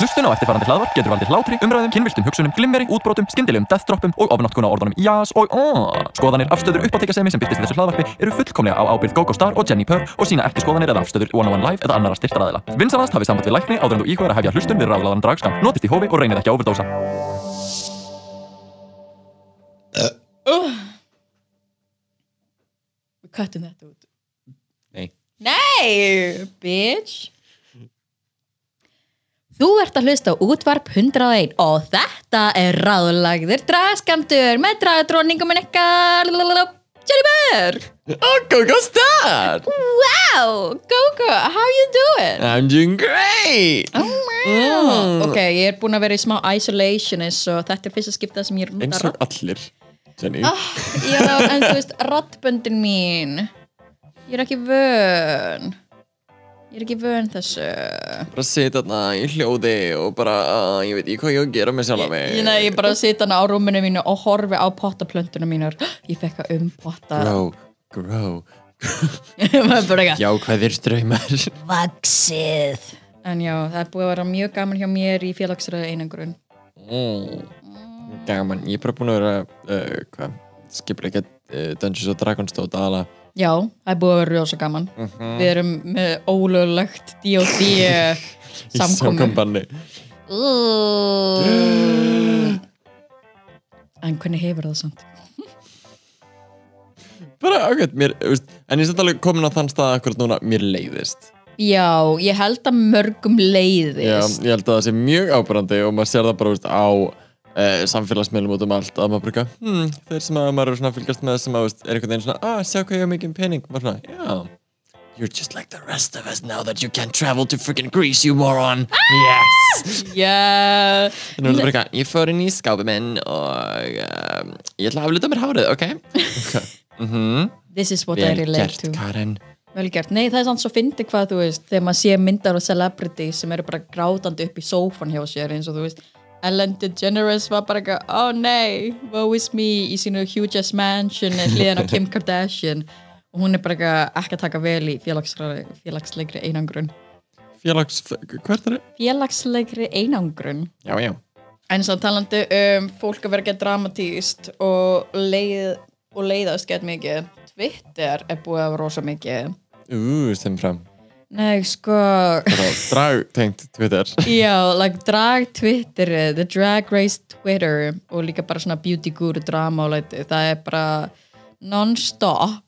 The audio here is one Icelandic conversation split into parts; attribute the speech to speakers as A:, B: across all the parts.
A: Hlustun á eftirfarandi hlaðvarp getur valdið hlátri, umræðum, kynviltum hugsunum, glimmeri, útbrotum, skyndilegum deathtroppum og ofnotkun á orðunum jás og aaaah. Skoðanir, afstöður, uppáttekasemi sem byrtist í þessu hlaðvarpi eru fullkomlega á ábyrgð GoGo Star og Jenni Purr og sína ekki skoðanir eða afstöður One on One Live eða annara styrtaraðila. Vinsanast hafið samband við lækni áður en þú íhugar að hefja hlustun við ráðlaðan dragskam. Notist í hófi og reynið ekki að overdósa.
B: Við köttum þetta út.
C: Nei.
B: Nei, bitch. Þú ert að hlusta á útvarp 101 og þetta er ráðlagður dragskamtur með dragdróningum en ekkar Jerry Bear
C: Oh, Coco Star!
B: Wow, Gogo, how you doing?
C: I'm doing great!
B: Mm. Ok, ég er búin að vera í smá isolation eins og þetta er fyrsta skipta sem ég er
C: Eins og allir. Jenny.
B: Ah, já, en þú veist, rattböndin mín Ég er ekki vön Ég er ekki vön þessu
C: Bara sita þarna í hljóði og bara, uh, ég veit ekki hvað ég á að gera með sjálf mig.
B: Ég, nei, ég bara sita hana á rúminu mínu og horfi á pottaplöntunum mínar Ég fekk að umpotta
C: Grow, grow.
B: Maður er bara ekki
C: Já, hvað er ströymar?
B: Vaxið En já, það er búið að vera mjög gaman hjá mér í félagsræða einangrun
C: Mm. Gaman, ég er bara búin að vera, uh, hvað, skipleika uh, Dungeons and Dragons stóð dala.
B: Já, það er búið að vera rosa gaman Við erum með ólöglegt D.O.D.
C: Í
B: samkomi
C: samkombanni.
B: En hvernig hefur það samt?
C: Bara ágætt, mér, þú veist, en ég er samt alveg komin á þann stað akkurat núna, mér leiðist.
B: Já, ég held að mörgum
C: Já,
B: leiðist
C: ég held að það sé mjög ábærandi og maður sér það bara úst, á uh, samfélagsmiðlum út um allt að maður bruka hmm, þeir sem að maður er svona að fylgjast með sem að úst, er einhvern veginn svona, ah, sjá hvað ég á mikið pening maður svona, já You're just like the rest of us now that you can't travel to freaking Greece, you moron Yes!
B: Já,
C: Nú er það bara eitthvað, ég fór inn í skápi minn og um, ég ætla að afluta mér hárið, ok? Mhm.
B: this is what I
C: Vel
B: relate
C: gert,
B: to
C: Karen
B: Vel gert, nei það er samt svo fyndi hvað þú veist þegar maður sé myndar og celebrity sem eru bara grátandi upp í sófan hjá sér eins og þú veist Ellen DeGeneres var bara eitthvað, oh nei, woe is me í sínu huge ass mansion hliðan á Kim Kardashian og hún er bara eitthvað ekki að taka vel í félagsra- félagslegri einangrun
C: Félags, hvert er það?
B: félagslegri einangrun
C: Já, já
B: En svo talandi um fólk að vera ekki dramatíst og, leið, og leiðast gett mikið Twitter er búið að vera rosa mikið
C: Ú, stem fram
B: Nei, sko
C: Bara Drag tengt Twitter
B: Já, like drag Twitter the drag race Twitter og líka bara svona beauty guru drama og leiti. það er bara non-stop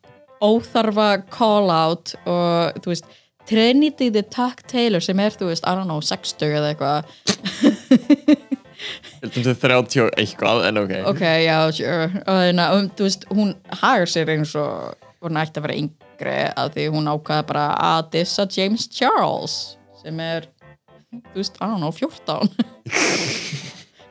B: óþarfa call out og þú veist Trinity the Tuck Taylor sem er þú veist, I don't know, 60 eða eitthvað
C: Hildum til 30 og eitthvað, en ok
B: ok, já, sure og þannig að, um, þú veist, hún hagar sér eins og hún ætti að vera yngri að því hún ákvaða bara að dissa James Charles sem er, þú veist, I don't know, 14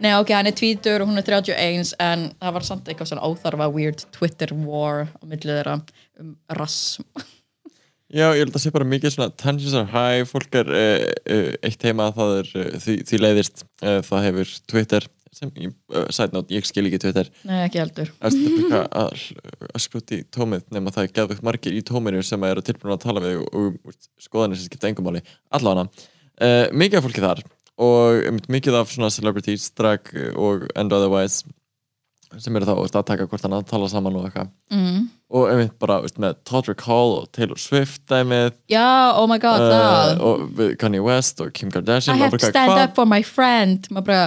B: Nei, ok, hann er tvítur og hún er 31 en það var samt eitthvað svona óþarfa weird Twitter war á milli þeirra um rass
C: Já, ég held að sé bara mikið svona tensions are high, fólk er uh, uh, eitt heima, það er uh, því, því leiðist uh, það hefur Twitter sem, ég, uh, side note, ég skil ekki Twitter
B: Nei, ekki heldur
C: Það er bara eitthvað að, að skruti í tómið nema það er geðvögt margir í tóminu sem eru tilbúin að tala við og, og, og skoðanir sem skipta engum máli, allavega uh, mikið af fólki þar og um, mikið af svona celebrities, drag og and otherwise sem eru þá veist, að taka hvort hann að tala saman og eitthvað
B: mm.
C: og einmitt bara veist, með Todrick Hall og Taylor Swift dæmið
B: Já, oh my god,
C: uh,
B: það
C: og við Kanye West og Kim Kardashian
B: I
C: maður
B: have to
C: bara,
B: stand
C: hvað?
B: up for my friend maður bara,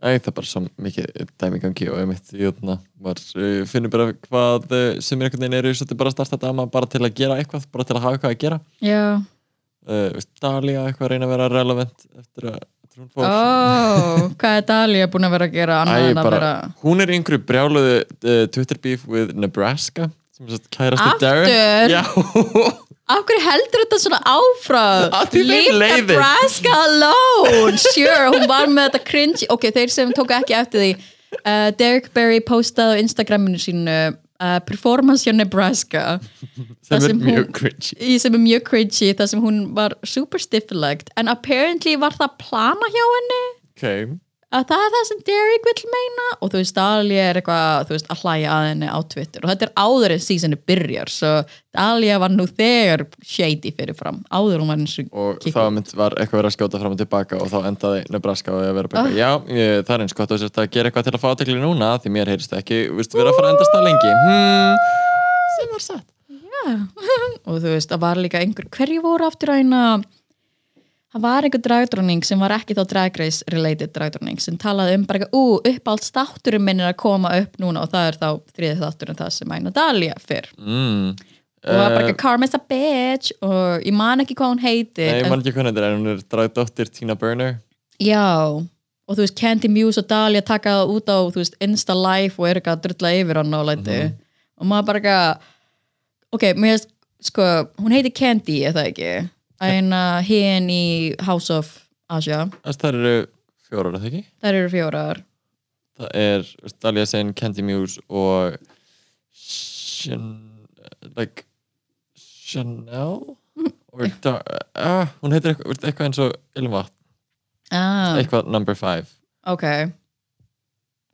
C: Æ, það er bara svo mikið dæmi í gangi og einmitt jötna, maður uh, finnur bara hvað uh, sem er einhvern veginn eru svolítið bara að starta dama bara til að gera eitthvað, bara til að hafa eitthvað að gera
B: já
C: uh, veist, Dalia eitthvað að reyna að vera relevant eftir að eftir hún fór
B: Ó, Oh, hvað er Dalia búin að vera að gera annað
C: Æ,
B: en að
C: bara,
B: vera
C: hún er í einhverju brjáluðu uh, Twitter beef with Nebraska sem er svolítið kærasti
B: Aftur?
C: Darren Já,
B: Af hverju heldur þetta svona áfram?
C: Af því þeim
B: Leave
C: leiðist.
B: Nebraska alone Sure, hún var með þetta cringe Ok, þeir sem tóku ekki eftir því uh, Derek Barry postaði á Instagraminu sínu uh, performance hjá Nebraska Það
C: sem er
B: sem
C: mjög
B: hún-
C: cringy
B: í sem er mjög cringy þar sem hún var super stifflegt en apparently var það plana hjá henni
C: okay.
B: að það er það sem Derek vill meina og þú veist, Dahlia er eitthvað þú veist, að hlæja að henni á Twitter og þetta er áður en seasoni byrjar svo Dahlia var nú þegar shady fyrirfram áður hún var eins og
C: og
B: Kikki.
C: þá mynd var eitthvað verið að skjóta fram og tilbaka og þá endaði Nebraska og ég að vera bara
B: Ah.
C: eitthvað, já, ég, það er eins gott og sérst að gera eitthvað til að fá aðtekli núna því mér heyrist ekki, viðst, vera að fara að endast það lengi hmm, sem var satt
B: og þú veist, það var líka einhver, hverju voru aftur að eina það var einhver dragdróning sem var ekki þá Drag Race related dragdróning sem talaði um bara eitthvað, ú, uppáld státturinn minn er að koma upp núna og það er þá þriðið þátturinn það sem Aina Dahlia fyrr
C: mm.
B: og það var bara
C: Eh,
B: eitthvað Karma's a bitch og ég man ekki hvað hún heiti
C: Nei, ég
B: en-
C: man ekki hvernig þetta er, en hún er dragdóttir Tina Burner
B: Já, og þú veist Candy Muse og Dahlia taka það út á þú veist, Insta Live og eru eitthvað að drulla yfir hann og læti
C: Mhm.
B: og maður bara eitthvað ok, mér veist, sko hún heiti Candy, er það ekki eina hinn í House of Asia,
C: Þess, það eru fjórar, er það ekki?
B: þær eru fjórar
C: Það er veist, Dahlia Sein, Candy Muse og Chan, like Chanel
B: Hmm.
C: or, Dar- ah, hún heitir eitthvað, veist, eitthvað eins og Ilmvat,
B: ah,
C: eitthvað number five
B: ok en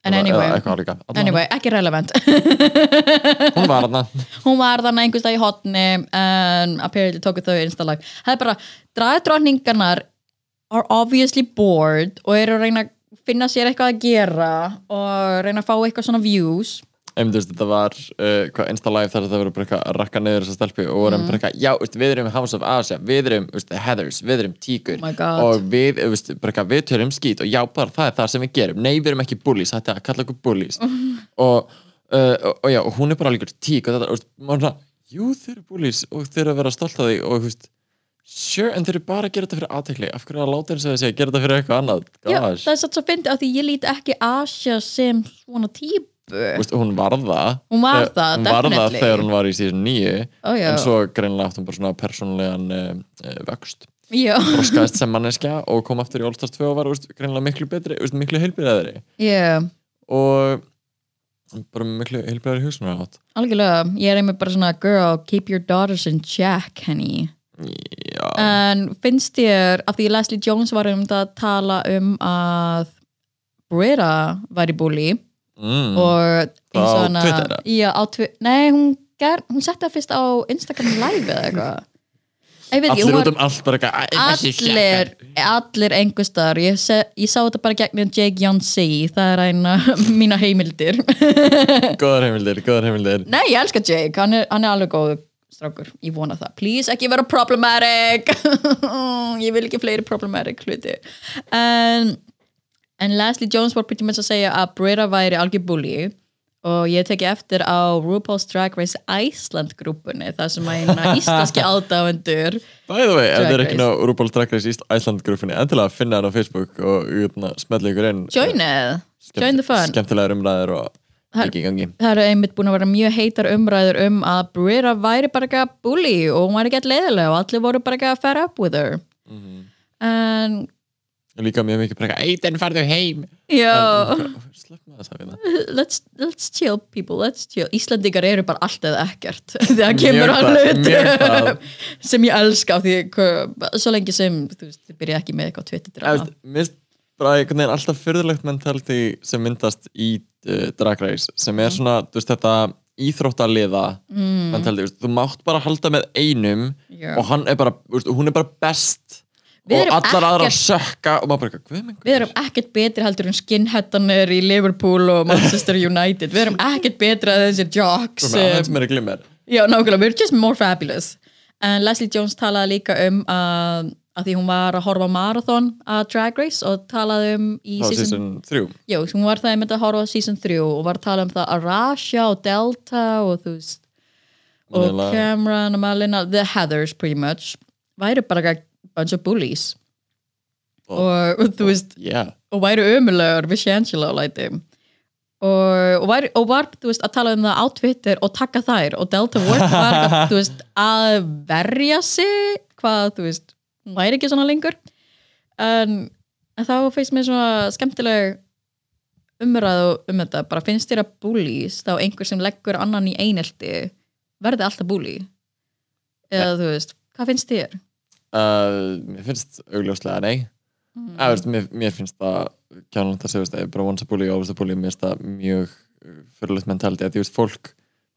C: Eða- eða
B: anyway,
C: eitthvað álíka. Allavega.
B: anyway ekki relevant
C: hún var þarna
B: hún var þannig einhvers dag í hotni en apparently tóku þau insta live það er bara, dragdróningarnar are obviously bored og eru að reyna að finna sér eitthvað að gera og reyna að fá eitthvað svona views
C: Einmitt, þú veist, þetta var uh, hvað, Insta Live þar að það voru bara eitthvað að rakka niður þessa stelpu og voru
B: Mm.
C: bara eitthvað, já, veist, við erum House of Asia, við erum veist, Heathers, við erum Tíkur
B: Oh my God.
C: og við, eh, veist, bara eitthvað, við törum skít og já, bara það er það sem við gerum, nei, við erum ekki bullies, þetta er að kalla okkur bullies og, uh, og, og já, og hún er bara líka tík og þetta, veist, maður svona, jú, þeir eru bullies og þeir eru að vera stolt af því og, þú veist, sure, en þeir eru bara að gera þetta fyrir aðtekli, af hverju að láta eins og þessi að gera þetta fyrir eitthvað annað,
B: Já,
C: gosh
B: það er satt svo fyndið af því ég lít ekki Asja sem svona típu
C: Vist, hún var það
B: Hún var
C: Þegar-
B: það, Oh,
C: hún var það
B: definitely.
C: þegar hún var í síðan nýju
B: Ó, já.
C: en svo greinilega átt hún bara svona persónlegan uh, vöxt
B: Já,
C: skaðist sem manneskja og kom aftur í Allstars 2 og var vist, greinilega miklu betri, vist, miklu heilbyrðaðri
B: yeah,
C: og bara með miklu heilbyrðaðri hugsunar átt
B: algjörlega ég er einmitt bara svona, girl, keep your daughters in check, henni
C: já,
B: En finnst þér, af því Leslie Jones var um þetta að tala um að Britta væri búli
C: mm,
B: og eins og
C: Á
B: hana
C: Twitter, eða?
B: já, á Twitter, nei hún, ger, hún setti það fyrst á Instagram live eða eitthvað Ég veit ekki,
C: allir
B: hún var
C: út um allt bara eitthvað, "Æ, þessi
B: allir, allir engustar ég, se, ég sá þetta bara gegnum Jake Yancey það er eina mína heimildir
C: sjakkar." góðar heimildir, góðar heimildir
B: nei, ég elska Jake, hann er, hann er alveg góð strákur, ég vona það, please ekki vera problematic ég vil ekki fleiri problematic hluti en, en Leslie Jones var pretty much að segja að Britta væri algjör bully og ég teki eftir á RuPaul's Drag Race Iceland grúpunni þar sem að eina íslenski aðdáendur
C: by the way, ef
B: Drag
C: þið er ekki
B: Race.
C: ná Rúból Dragrace Ísland grúfinni, endilega finna hann á Facebook og jötna, smetla ykkur inn
B: joinið, join the fun
C: skemmtilegar umræðir og
B: Har-
C: ekki í gangi
B: það eru einmitt búin að vera mjög heitar umræður um að Britta væri bara eitthvað bully og hún var ekki eitthvað leiðilega og allir voru bara eitthvað fed up with her en
C: líka mjög mikið bara eitthvað, eitthvað farðu heim
B: já,
C: slepp með þess að finna
B: let's, let's chill people, let's chill Íslandingar eru bara allt eða ekkert þegar kemur að
C: það, mjög það.
B: hlut sem ég elska af því hva- svo lengi sem, þú veist, þið byrja ekki með eitthvað Twitter-drama,
C: minnst bara einhvern veginn alltaf fyrðulegt mentality sem myndast í uh, Drag Race sem
B: Mm.
C: er svona, þú veist þetta íþróttaliða mm. mentality, þú veist, þú mátt bara halda með einum
B: Já.
C: og hann er bara, þú veist, hún er bara best
B: Við
C: og
B: erum
C: allar aðrar
B: ekkert-
C: sökka og maður bara, eitthvað, guð minn
B: við erum ekkert betri heldur en skinheadanir í Liverpool og Manchester United, við erum ekkert betri að þessi jocks
C: góður,
B: um,
C: aðeins meira glimmer
B: Já, nákvæmlega, we're just more fabulous en Leslie Jones talaði líka um að, að því hún var að horfa á marathon að Drag Race og talaði um í
C: á
B: season,
C: season 3
B: já, hún var það einmitt að horfa á season 3 og var að tala um það að Rasha og Delta og þú veist og
C: Manila.
B: Cameron og Malina the Heathers pretty much væru bara eitthvað bunch of bullies og, og þú veist
C: yeah,
B: og væri ömulegur við Shangela og læti og, og, væri, og var þú veist, að tala um það á Twitter og taka þær og Delta Ward var eitthvað, þú veist, að verja sig hvað þú veist, hún væri ekki svona lengur en, en þá finnst mér svona skemmtileg umræðu um þetta, bara finnst þér að bullies þá einhver sem leggur annan í einelti verði alltaf bully eða þú veist, hvað finnst þér?
C: uh, mér finnst augljóslega nei mm. veist, mér, mér finnst það kjánalegt að segja, veist, eh, bara once a bully, always a bully, mér finnst það mjög fyrirlegt mentality, að því veist, fólk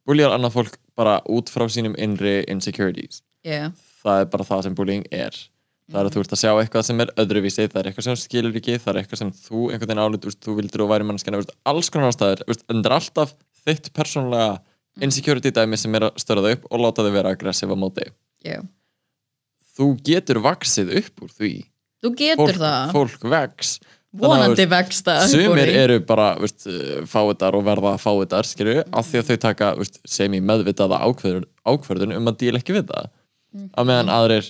C: bullyar annað fólk bara út frá sínum innri insecurities.
B: yeah.
C: Það er bara það sem bullying er. Það er að þú ert að sjá eitthvað sem er öðruvísi, það er eitthvað sem þú skilur ekki, það er eitthvað sem þú einhvern veginn álut, veist, þú vildir og væri mannskana, veist, alls konar ástæður, veist, en það er alltaf þitt persónlega insecurity dæmi sem er að störa þau upp og láta þau vera aggressiv á móti.
B: yeah.
C: Þú getur vaksið upp úr því.
B: þú getur
C: Fólk,
B: það
C: fólk vex. Þannig að,
B: vonandi vext það
C: Sumir
B: Bori.
C: eru bara veist, fáiðar og verða fáiðar skilju, af því að þau taka veist, sem í meðvitaða ákvörðun, ákvörðun um að díla ekki við það
B: Mhm.
C: á meðan aðrir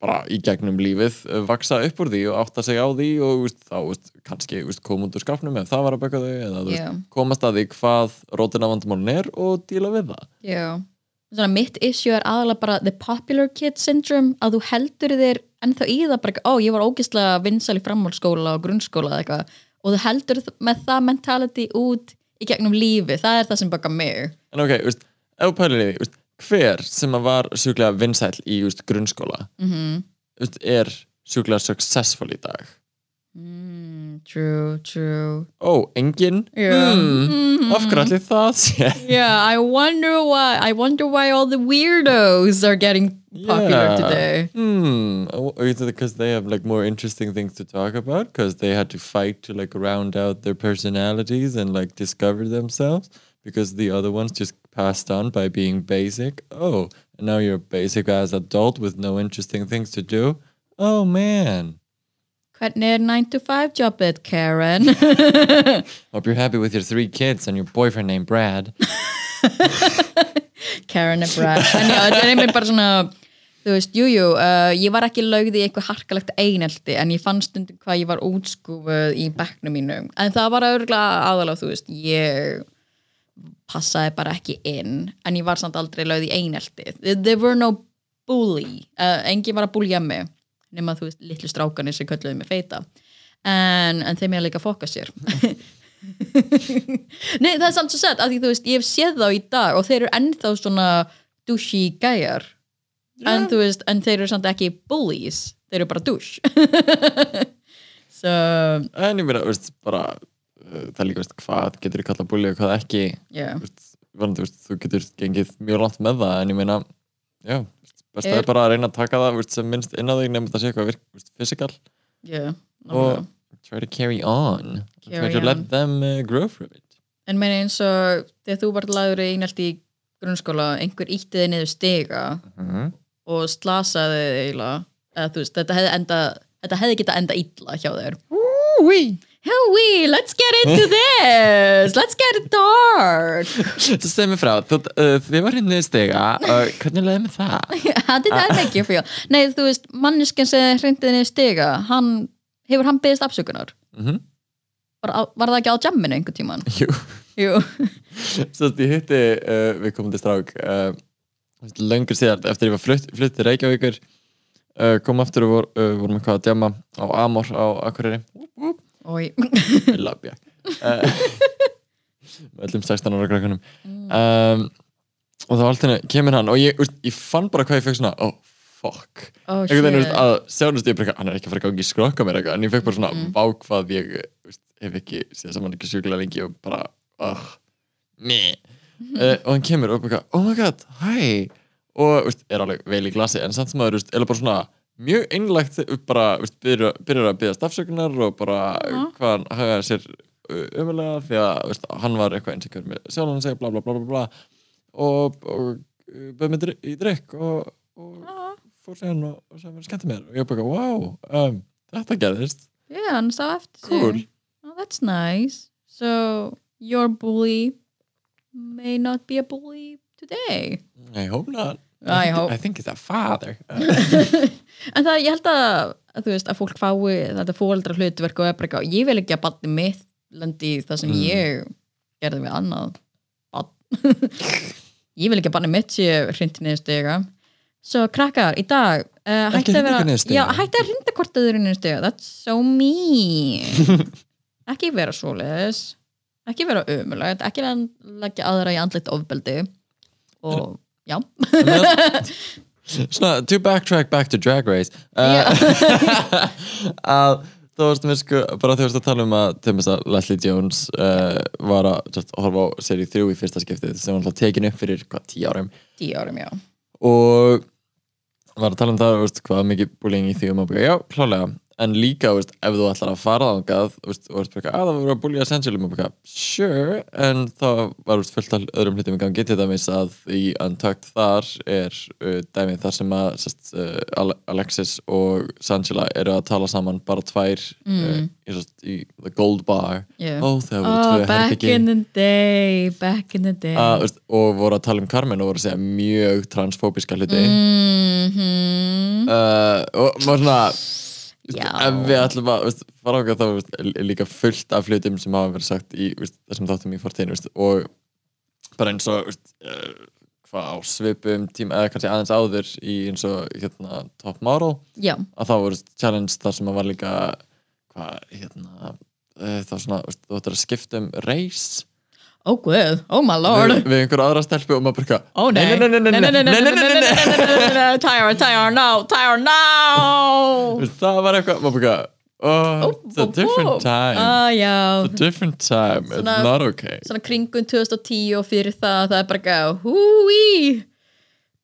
C: bara í gegnum lífið eh, vaksa upp úr því og átta sig á því og veist, þá veist, kannski veist, koma út úr skapnum ef það var að baka þau eða þú
B: Já.
C: veist, komast að því hvað rótina vandamálun er og díla við það
B: Já. Svona mitt issue er aðalega bara the popular kid syndrome að þú heldur þér ennþá í það bara, ó ég var ógeðslega vinsæl í framhaldsskóla og grunnskóla eða eitthvað og þú heldur þ- með það mentality út í gegnum lífi, það er það sem baka mig
C: En ok, veist, ef pælir í því, veist, hver sem að var sjúklega vinsæll í veist, grunnskóla
B: Mhm.
C: veist, er sjúklega successful í dag?
B: mm, True, true
C: Ó, enginn?
B: Já. Mhm.
C: Hmm, af hverju allir það sé?
B: Yeah, I wonder why I wonder why all the weirdos are getting popular
C: Yeah.
B: today
C: Hmm, oh, is it because they have like more interesting things to talk about? Because they had to fight to like round out their personalities and like discover themselves? Because the other ones just passed on by being basic? Oh, and now you're a basic ass adult with no interesting things to do? Oh man.
B: Hvernig er 9 to 5 jobið, Karen?
C: Hope you're happy with your three kids and your boyfriend named Brad.
B: Karen and Brad en já, þetta er einmitt bara svona þú veist, jújú, jú, uh, ég var ekki lögð í eitthvað harkalegt einelti en ég fann stundum hvað ég var útskúfuð í bekknum mínum, en það var örgulega aðalega, þú veist, ég passaði bara ekki inn en ég var samt aldrei lögð í einelti there, there were no bully uh, engin var að búlja mig nema þú veist, litlu strákanir sem kölluðu mig feita en, en þeim er líka að fokka sér Nei, það er samt svo sett, af því þú veist, ég hef séð þá í dag og þeir eru ennþá svona douchey gæjar en þú veist, en þeir eru samt ekki bullies þeir eru bara douche so,
C: En ég meina, veist, bara, uh, það er líka, veist, hvað getur þú kallað búli og hvað ekki?
B: yeah
C: Veist, varandi, veist, þú getur gengið mjög langt með það, en ég meina, já, veist, best
B: Er-
C: er bara að reyna að taka það, veist, sem minnst inn á þig, nefnum það sé eitthvað virk, veist, physical,
B: yeah, nákvæmlega.
C: og try to carry on.
B: Carry
C: try to
B: on.
C: let them uh, grow from it.
B: en meina eins og þegar þú varð lagur í einhelt í grunnskóla, einhver ítti þið niður stiga og slasaði þig eiginlega eða þú veist, þetta hefði enda þetta hefði geta enda illa hjá þér
C: Úi!
B: Howie, let's get into this let's get dark
C: Svo segð mér frá, þú, uh, þið var hérna í stiga, uh, hvernig leiði með það?
B: How did
C: Ah.
B: that make you feel? Nei, þú veist, manneskinn sem hrindiði niður stiga, hann, hefur hann beðist afsökunar?
C: Mhm.
B: Var, var það ekki á jamminu einhvern tíman?
C: Jú.
B: Jú.
C: Svo að ég hitti uh, við komum til strák uh, löngur síðar eftir ég var flutt, flutt til Reykjavíkur uh, kom aftur og vor, uh, vorum eitthvað að djama á Amor á Akureyri
B: Ói.
C: Labja uh, með Eh, öllum 16 ára krakkanum
B: Mm.
C: um, og þá allt henni kemur hann og ég, úst, ég fann bara hvað ég fekk svona oh fuck
B: Oh,
C: einhvern veginn úst,
B: shit.
C: að sjálfnust ég bara eitthvað, hann er ekki að fara að gangi skrokka mér eitthvað en ég fekk bara svona mm. vákvað ég úst, hef ekki séð saman ekki sjúklega lengi og bara oh, meh uh, og hann kemur og bara oh my god, hi og úst, er alveg vel í glasi en samt sem aður er bara svona mjög einlægt bara úst, byrjar, byrjar að byrja stafsökunar og bara
B: Já.
C: hvað hann hagaði sér umulega því að veist, hann var eitthvað eins og hver með sjálf hann segja bla bla bla bla bla og, og uh, bauð mér dry- í drikk og, og fór sér hann og, og sagði mér skemmti mér og ég bara wow, um, þetta gerðist
B: Já, hann sá eftir sig.
C: cool,
B: Oh, that's nice. So, your bully may not be a bully today.
C: I hope not
B: I hope-
C: I think it's a father
B: En það, ég held að, að þú veist, að fólk fái þetta fóaldra hlutverk og ebrika og ég vil ekki að batni mitt lendi í það sem
C: Mm.
B: ég gerði við annað barn. ég vil ekki að batni mitt sé hrinti niður stiga svo krakkar, í dag uh,
C: Ekki
B: hætti að
C: hrinda
B: vera,
C: niður stiga.
B: já, hætti að hrinda hvort öðru niður stiga, that's so mean ekki vera svoleiðis ekki vera ömulegt ekki vera að leggja aðra í andlit ofbeldi og já
C: En meðan- Eh. Svona, to backtrack back to Drag Race uh,
B: Já.
C: að þá það varst mér sko, bara þegar þú varst að tala um að til þess að Leslie Jones uh, var að just, horfa á seri 3 í fyrsta skiptið sem var alltaf tekin upp fyrir hvað, 10 árum
B: tíu árum, já.
C: og var að tala um það, veist, hvað mikið búling í því um að búið, já, klálega en líka, veist, ef þú ætlar að fara þangað veist, og veist, bara, að það voru að búlja essentialum og bara, sure, en það var veist, fullt af öðrum hlutum í gangi til dæmis að í Untucked þar er uh, dæmið þar sem að sest, uh, Ale- Alexis og Sangela eru að tala saman bara tvær mm. uh, í, sest, í The Gold Bar
B: Yeah.
C: ó, það voru tvö
B: back
C: herbyggin
B: in the day, back in the day.
C: Að, veist, og voru að tala um Carmen og voru að segja mjög transfóbiska hluti
B: Mm. Mhm.
C: uh, og maður svona veist,
B: Já.
C: ef við ætlum að veist, fara okkar þá veist, er líka fullt af hlutum sem hafa verið sagt í veist, þessum þáttum í fortíðinu veist, og bara eins og veist, uh, hvað á svipum tíma eða kannski aðeins áður í eins og hérna, top model
B: Já,
C: að þá voru challenge þar sem að var líka hvað hérna uh, þá svona veist, þú ættir að skipta um race
B: oh guð, oh my lord.
C: við, við einhver aðra stelpu og maður bara eitthvað,
B: Ó nei,
C: nei, nei, nei, nei, nei, nei, nei, nei, nei, nei.
B: nei, Tyra, Tyra, no, Tyra, no
C: Veist, það var eitthvað maður bara eitthvað, oh, it's a different time
B: Ah, já,
C: a different time, it's
B: Svona-
C: not okay
B: svona kringum 2010 og fyrir það, það er bara gæða, húi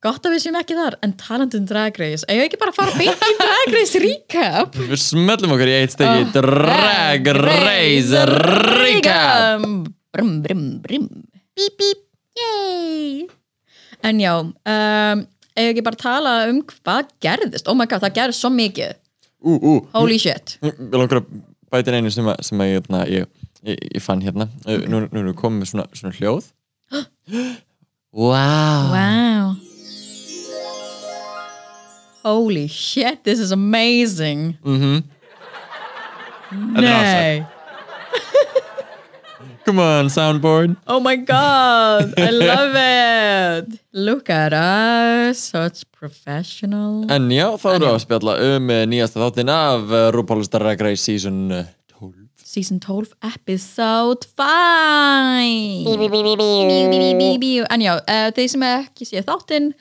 B: Gott að við séum ekki þar, en talandi um Drag Race Eigum við ekki bara að fara beint í Drag Race recap?
C: Við smellum okkur í eitt stegi
B: Ah,
C: Drag Race Recap
B: Brum, brum, brum Bíp, bíp, yay En já, um, eigum við ekki bara að tala um hvað gerðist Oh my god, það gerðist svo mikið
C: Ú, ú,
B: Holy shit
C: við langar að bæta inn einu sem, að, sem að, ég, hérna, ég, ég, ég fann hérna okay. Nú nú erum við komið með svona, svona hljóð Wow,
B: Wow. Holy shit, this is amazing.
C: Mm
B: Nei.
C: Come on, soundboard
B: Oh my god, I love it. Look at us, such professional.
C: En já, þá erum við að spjalla um eh, nýjasta þáttin af eh, RuPaul's Drag Race Season eh, 12
B: Season 12, episode 5. Bíu, bíu, bíu, bíu. En já, uh, þeir sem ekki sé þáttinn,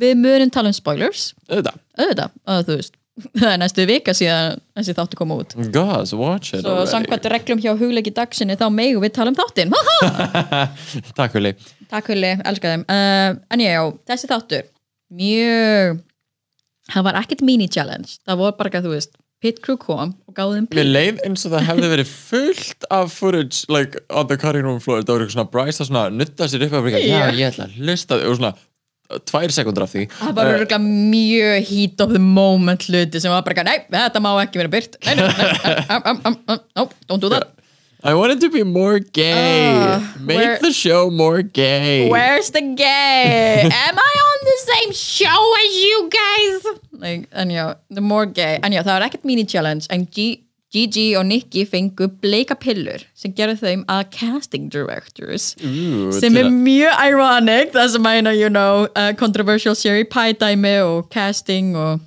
B: við munum tala um spoilers.
C: Þetta,
B: Auðvitað, uh, þú veist, það er næstu vika síðan þessi þáttu koma út.
C: guys, watch it
B: Svo
C: already.
B: samkvæmt reglum hjá hugleiki dagsinni þá megum við tala um þáttinn. Ha, ha!
C: Takk Huli
B: Takk Hulli, elska þeim. Uh, en já, þessi þáttur, mjög, það var ekkert mini-challenge. Það voru bara ekki að þú veist, pit crew kom og gáði þeim
C: Mér
B: pit.
C: leið eins og það hefði verið fullt af footage like on the cutting room floor það voru eitthvað svona Bryce að svona nutta sér upp og bara
B: Já.
C: já ég ætla að hlusta og svona uh, tvær sekundur af því
B: Það var
C: Eh,
B: örgulega mjög heat of the moment hluti sem var bara ekki, nei, þetta má ekki vera byrt. Nei, nei, nei, um, um, um, um, no, don't do that.
C: I wanted to be more gay
B: Ah,
C: make
B: where-
C: the show more gay
B: Where's the gay? Am I on the same show as you guys? Like, en já, the more gay. En já, það var ekkert mini-challenge, en G- Gigi og Nikki fengu bleika pillur sem gerðu þeim að casting directors
C: Ú,
B: sem
C: til
B: er
C: að-
B: mjög ironic það sem að, you know, you know, uh, controversial Sherry Pie dæmi og casting og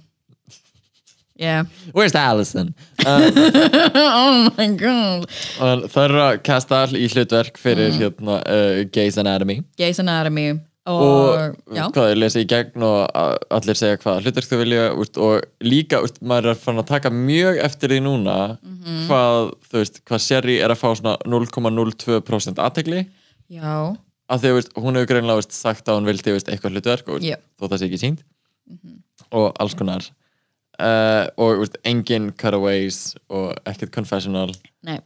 B: yeah
C: Where's Allison
B: oh my god
C: En það eru að kasta all í hlutverk fyrir
B: Mm.
C: hérna uh, Gays Anatomy
B: Grey's Anatomy og,
C: og
B: já,
C: hvað þau lesa í gegn og a- allir segja hvað hlutverk þau vilja úst, og líka, úst, maður er fann að taka mjög eftir því núna
B: Mhm.
C: hvað, þú veist, hvað Sherry er að fá svona 0,02% aðtegli
B: já
C: af því að úst, hún hefur greinlega úst, sagt að hún vildi úst, eitthvað hlutverk og
B: Já. Mhm.
C: yeah. þó það sé ekki sínt og alls konar uh, og úst, engin cutaways og ekkert confessional
B: nei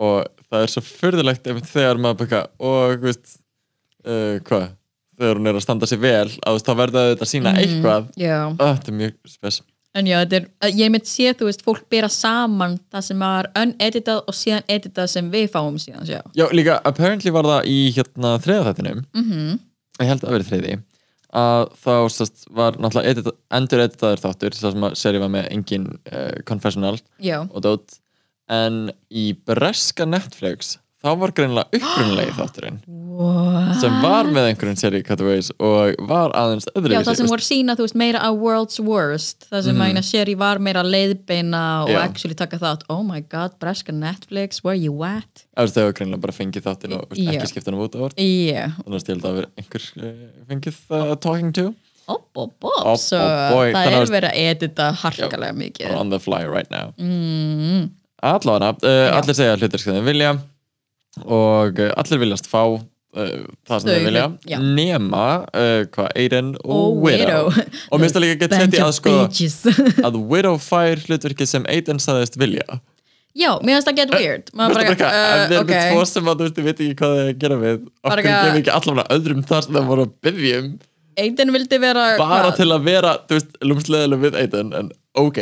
C: og það er svo fyrðilegt þegar maður baka og þú veist, uh, hvað þegar hún er að standa sér vel að þú veist, þá verða þetta að sína eitthvað
B: já
C: Ó, þetta er mjög spes
B: En já, þetta er, að ég mynd sé, þú veist, fólk bera saman það sem var uneditað og síðan editað sem við fáum síðan, sjá.
C: já líka apparently var það í hérna þriðaþættinum
B: Mm -hmm.
C: ég held að verið þriði að þá sest, var náttúrulega edita, endur editaður þáttur þar sem að seri var með engin uh, confessional
B: Já.
C: og dót en í breska Netflix þá var greinlega upprunalegi þátturinn
B: Wow.
C: sem var með einhverjum seri cutaways og var aðeins öðru
B: Ah. Já, það sem voru sína, þú veist, meira að World's Worst, það sem mm. að Sherry var meira leiðbeina og
C: Mhm. Já.
B: actually taka þátt, oh my god, breska Netflix, where you at?
C: Eftir þau hafa greinilega bara fengið þáttinn og veist,
B: Já.
C: ekki skipt hann út á orð
B: Yeah,
C: Þannig að stíla það að vera einhver eh, fengið uh, talking to
B: op, op, op,
C: Op,
B: svo
C: op, boy.
B: það
C: Þannig
B: er
C: að-
B: verið að edita harkalega mikið.
C: on the fly right now
B: Mm.
C: allavega, uh, allir segja hlutir sem þeir vilja og uh, allir viljast fá uh, það sem
B: Þau
C: þeir vilja
B: vil- já.
C: nema uh, hvað, Aiden og Widow og mér finnst það líka að geta sett í að sko
B: sko
C: að Widow fær hlutverki sem Aiden sagðist vilja
B: Já, mér finnst það get weird Maður
C: Bara, bara, uh, við
B: bara,
C: erum
B: ok
C: okay. tvo sem að þú veist, ég veit ekki hvað það er að gera við
B: Bara
C: okkur
B: eitthvað-
C: gefum ekki allavega öðrum þar sem það voru að byrjum
B: Aiden vildi vera
C: bara
B: hvað?
C: til að vera, þú veist, lúmsleðileg við Aiden en ok,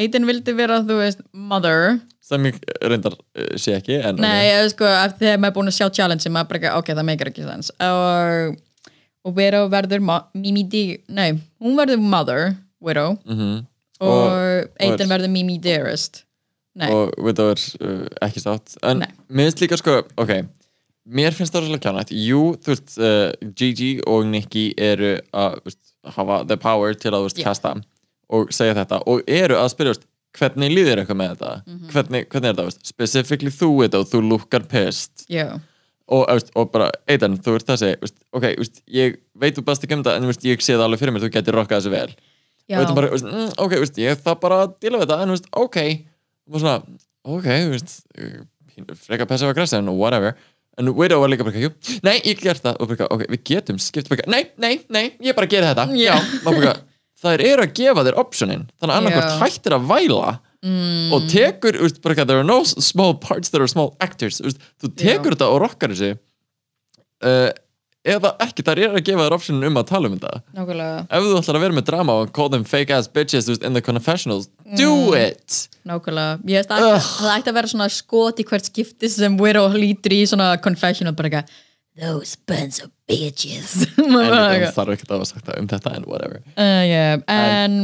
B: Aiden vildi vera, þú veist, mother
C: sem ég reyndar uh, sé ekki en
B: Nei, okay. sko, af því að maður er búin að sjá challenge maður bara, ekki, ok, það meikar ekki sens og, og Widow verður mo- Mimi D, nei, hún verður mother Widow
C: mm
B: og,
C: Og-
B: Aiden
C: og-
B: verður Mimi Dearest Nei,
C: og Widow er uh, ekki sátt en
B: Nei.
C: mér finnst líka sko, ok mér finnst það rosalega kjánætt jú, þú veist, uh, Gigi og Nikki eru að þú veist, hafa the power til að þú veist,
B: Já.
C: kasta og segja þetta og eru að spyrja þú veist, hvernig líður eitthvað með þetta
B: Mhm.
C: hvernig, hvernig er þetta, þú veist, specifically þú Widow, þú lukkar pissed
B: já,
C: og, eh, þú veist, og bara, Eitan, þú ert þessi þú veist, ok, þú veist, ég veit þú bast ekki um þetta en þú veist, ég sé það alveg fyrir mér, þú getur rokkað þessu vel
B: já
C: og þetta bara, veist, mm, ok, veist, ég þarf bara að díla við þetta, en veist, ok og bara svona, ok, veist pínu frekar passive aggressive, en whatever en Widow var líka bara, jú, nei, ég gert það og bara, ok, við getum skipt bara, nei, nei, nei ég bara geri þetta,
B: Já.
C: já, maður bara þær eru að gefa þér optionin, þannig að annarkvort
B: Já.
C: hættir að væla mm. og tekur, veist, bara, there are no small parts there are small actors, veist, þú tekur þetta og rockar þessi uh, eða ekki, þær eru að gefa þér optionin um að tala um þetta
B: nákvæmlega,
C: ef þú ætlar að vera með drama og call them fake ass bitches þú veist, in the confessionals, do
B: Mm.
C: it
B: nákvæmlega ég veist að
C: Ugh.
B: það ætti að vera svona skot í hvert skipti sem Widow hlýtur í svona confessional bara eitthvað Those bunch of bitches
C: en
B: Maður bara
C: það
B: eitthvað.
C: þarf ekki að hafa sagt það um þetta en whatever
B: uh, yeah. en,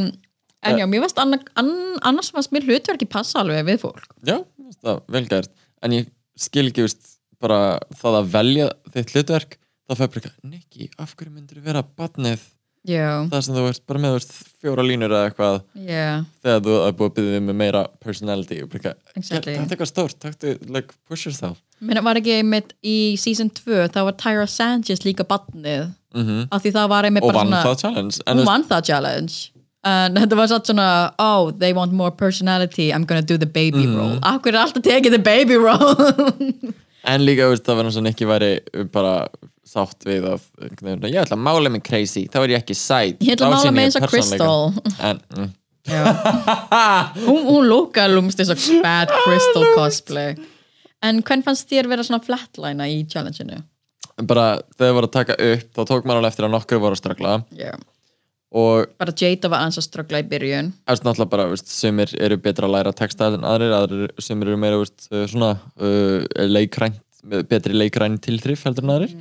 C: eh,
B: en já, mér varst anna, ann, annars fannst mér hlutverki passa alveg við fólk
C: já, þú veist það, vel gert en ég skil ekki, þú veist, bara það að velja þitt hlutverk þá fær bara eitthvað, Nicky, af hverju myndir vera badnið
B: já,
C: það sem þú ert bara með þú veist, fjóra línur eða eitthvað
B: já,
C: þegar þú er búið að byggja þig með meira personality og bara eitthvað,
B: Exactly.
C: þetta er eitthvað stórt taktu, like, push yourself
B: minna var ekki einmitt í season 2, þá var Tyra Sanchez líka badnið,
C: mm
B: af því það var einmitt
C: og
B: bara
C: vann
B: svona,
C: það challenge en, þú
B: hún
C: veist,
B: vann það challenge en þetta var satt svona, oh, they want more personality, I'm gonna do the baby role akkur er alltaf tekið the baby role
C: En líka, þú veist, það var eins og Nicky væri bara sátt við að einhvern veginn, ég ætla að mála mig crazy, þá er ég ekki sæt
B: ég ætla
C: Þá
B: að mála
C: sýni
B: með
C: ég
B: eins og
C: persónuleika.
B: Crystal
C: En, mm,
B: hún, hún lúka lúmst eins og bad crystal cosplay en hvern fannst þér vera svona flatlina í challenge-inu?
C: bara, þegar það var að taka upp þá tók maður alveg eftir að nokkur voru að ströggla
B: Yeah.
C: og
B: bara Jada var aðeins að ströggla í byrjun
C: eftir náttúrulega bara, þú veist, sumir eru betra að læra texta en aðrir, aðrir sumir eru meira, þú veist, eh, svona uh, leikrænt, með betri leikræn tilþrif heldur en aðrir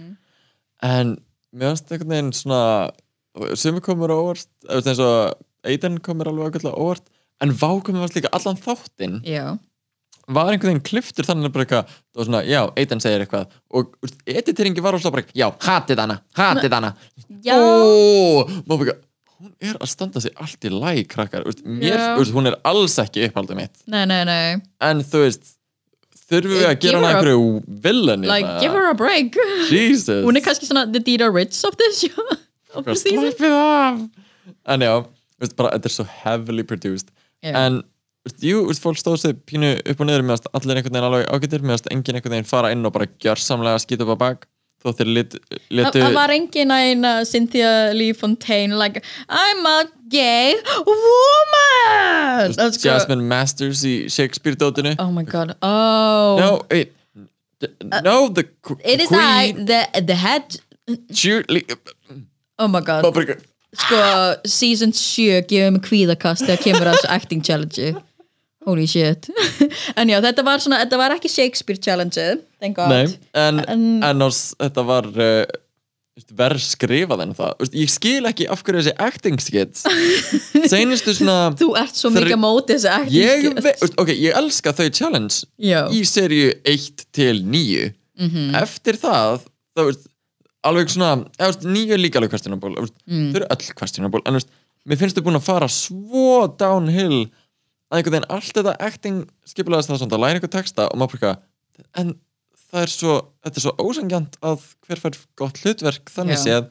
C: en mér finnst einhvern veginn svona sumir komur á óvart, eða, þú veist, eins og Aiden komur alveg ágætlega á óvart en vákomið varst líka allan þáttinn
B: já,
C: var einhvern veginn kliftur þannig að bara eitthvað, það var svona, já, Eitan segir eitthvað og úst, editeringi var alltaf bara, já, hatið hana hatið hana
B: Já.
C: Ó, maður bara, hún er að standa sig allt í læg, krakkar, úst, mér,
B: Já.
C: úst, hún er alls ekki uppáldið mitt,
B: nei, nei, nei
C: en þú veist þurfum við að
B: Eh, Give
C: gera hana
B: her a-
C: einhverju villain
B: like, give her a break
C: Jesus
B: hún er kannski svona the Dita Ritz of this show of the
C: Bara
B: season
C: Slappið af En já, veist, bara, þetta er svo heavily produced
B: Já.
C: En veist, jú, veist, fólk stóð sér pínu upp og niður meðast allir einhvern veginn alveg ágættir meðast enginn einhvern veginn fara inn og bara gjörsamlega skýta upp á bak þó þeir lit,
B: Það
C: litu
B: það var engin að uh, Cynthia Lee Fontaine like, I'm a gay woman Það er sko-
C: Jasmine Masters í Shakespeare dótinu
B: Oh my god, oh Uh,
C: No, wait d- No, the qu-
B: It is I,
C: queen
B: the, the head
C: Julie
B: Oh my god sko, season 7 gefið mig kvíðakast þegar kemur að þessu acting challenge holy shit en já, þetta var svona, þetta var ekki Shakespeare challenge thank god
C: Nei, en, en,
B: En-
C: en ás, þetta var uh, verð skrifað en það Vist, ég skil ekki af hverju þessi acting skits seinustu svona
B: þú ert svo
C: Þri-
B: mikið á móti þessu acting
C: ég,
B: skills.
C: ve- veist, ok, ég elska þau challenge
B: já, Mhm.
C: í seríu 1 til 9 eftir það þá veist, alveg svona eða, veist, 9 er líka alveg questionable veist,
B: Mm.
C: þau eru öll questionable en veist, mér finnst þau búin að fara svo downhill að einhvern veginn allt þetta acting skipulegast það svona, það læra einhver texta og maður bara eitthvað, en það er svo, þetta er svo ósangjant að hver fær gott hlutverk þannig
B: Já.
C: séð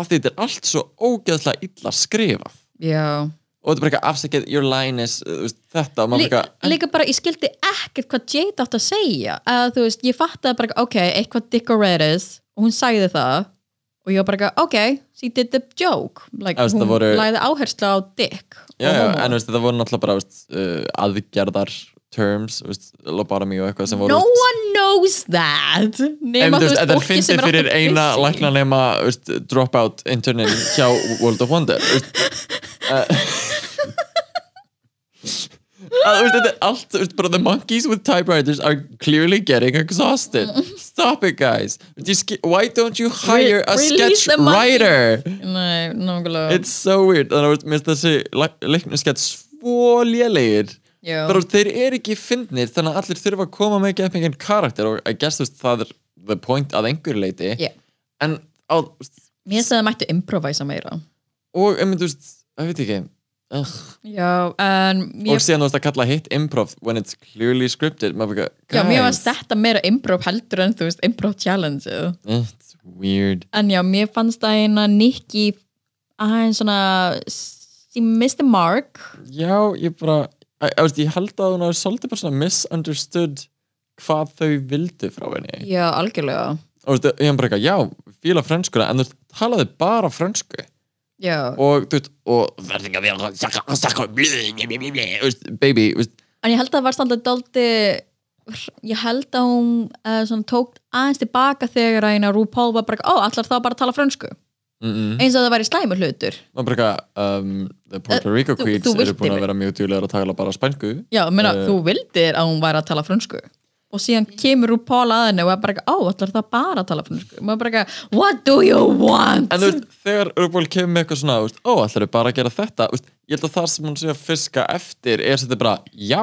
C: að þetta er allt svo ógeðslega illa skrifað
B: já,
C: og þetta er bara eitthvað afsakið your line is uh, þú veist, þetta og maður
B: Lí,
C: bara eitthvað
B: líka bara, ég skildi ekkert hvað Jade átt að segja að þú veist, ég fattaði bara ok, eitthvað decorators og hún sagði það og ég var bara eitthvað, ok, she did the joke like,
C: Já, veist,
B: hún
C: það voru-
B: lagði áherslu á dick og
C: já, já,
B: homo.
C: en þú veist, þetta voru náttúrulega bara þú veist, uh, aðgerðar terms þú veist, lobotomy og eitthvað sem voru
B: no
C: þú veist,
B: one knows that
C: En
B: nema
C: þú
B: þú
C: veist,
B: veist,
C: þetta er
B: fólki sem
C: fyndið
B: er
C: fyrir
B: alltaf
C: eina
B: busy.
C: læknanema þú veist, dropout internin hjá World of Wonder þú veist, eh, uh, að, þú veist, Þetta er allt þú veist, bara The monkeys with typewriters are clearly getting exhausted Stop it guys Þú veist, ég skil- Why don't you hire a
B: release
C: sketch
B: the monkeys.
C: writer
B: Nei, nákvæmlega
C: It's so weird Þannig að þú veist, mér finnst þessi leiknum skett svo lélegir
B: Já.
C: bara þú veist, þeir eru ekki fyndnir þannig að allir þurfa að koma með geppingin karakter og að gerst þú veist það er the point að einhverju leiti
B: Yeah.
C: en á, þú veist,
B: Mér finnst að það mættu improvisa meira
C: og um, þú veist, það veit ekki uh,
B: Já, en
C: og
B: mér,
C: síðan þú veist að kalla hitt improv when it's clearly scripted maður bara,
B: já, mér
C: guys,
B: varst þetta meira improv heldur en þú veist improv challenge
C: it's weird
B: En já, mér fannst það eina Nikki aðeins svona she missed the mark
C: já, ég bara, að, að, veist, ég held að hún hafi svolítið bara svona misunderstood hvað þau vildu frá henni
B: Já, algjörlega
C: og þú veist, ég hef bara eitthvað, já, fíla frönskuna en þú veist, talaði bara frönsku
B: Já.
C: og þú veist og verður ekki að vera sakka sakka blöð baby þú veist,
B: En ég held að það var standað daldi ég held að hún uh, svona, tók aðeins tilbaka þegar að eina RuPaul var bara, ó, allar þá bara að tala frönsku
C: mm -mm.
B: eins og það væri slæmur hlutur
C: maður bara eitthvað um, the Puerto Rico
B: Eh, þú-
C: queens
B: þú
C: eru
B: vildir
C: búin
B: mig.
C: að vera mjög djúlegar að tala bara spænsku
B: Já, ég meina,
C: Eh.
B: þú vildir að hún væri að tala frönsku og síðan kemur úr Pál að henni og er bara ekki, ó, allar það bara að tala frönsku og maður bara ekki, what do you want?
C: en þú veist, þegar RuPaul kemur með eitthvað svona þú veist, ó, ætlar þau bara að gera þetta þú veist, ég held að það sem hún sé að fiska eftir er sem þetta bara, já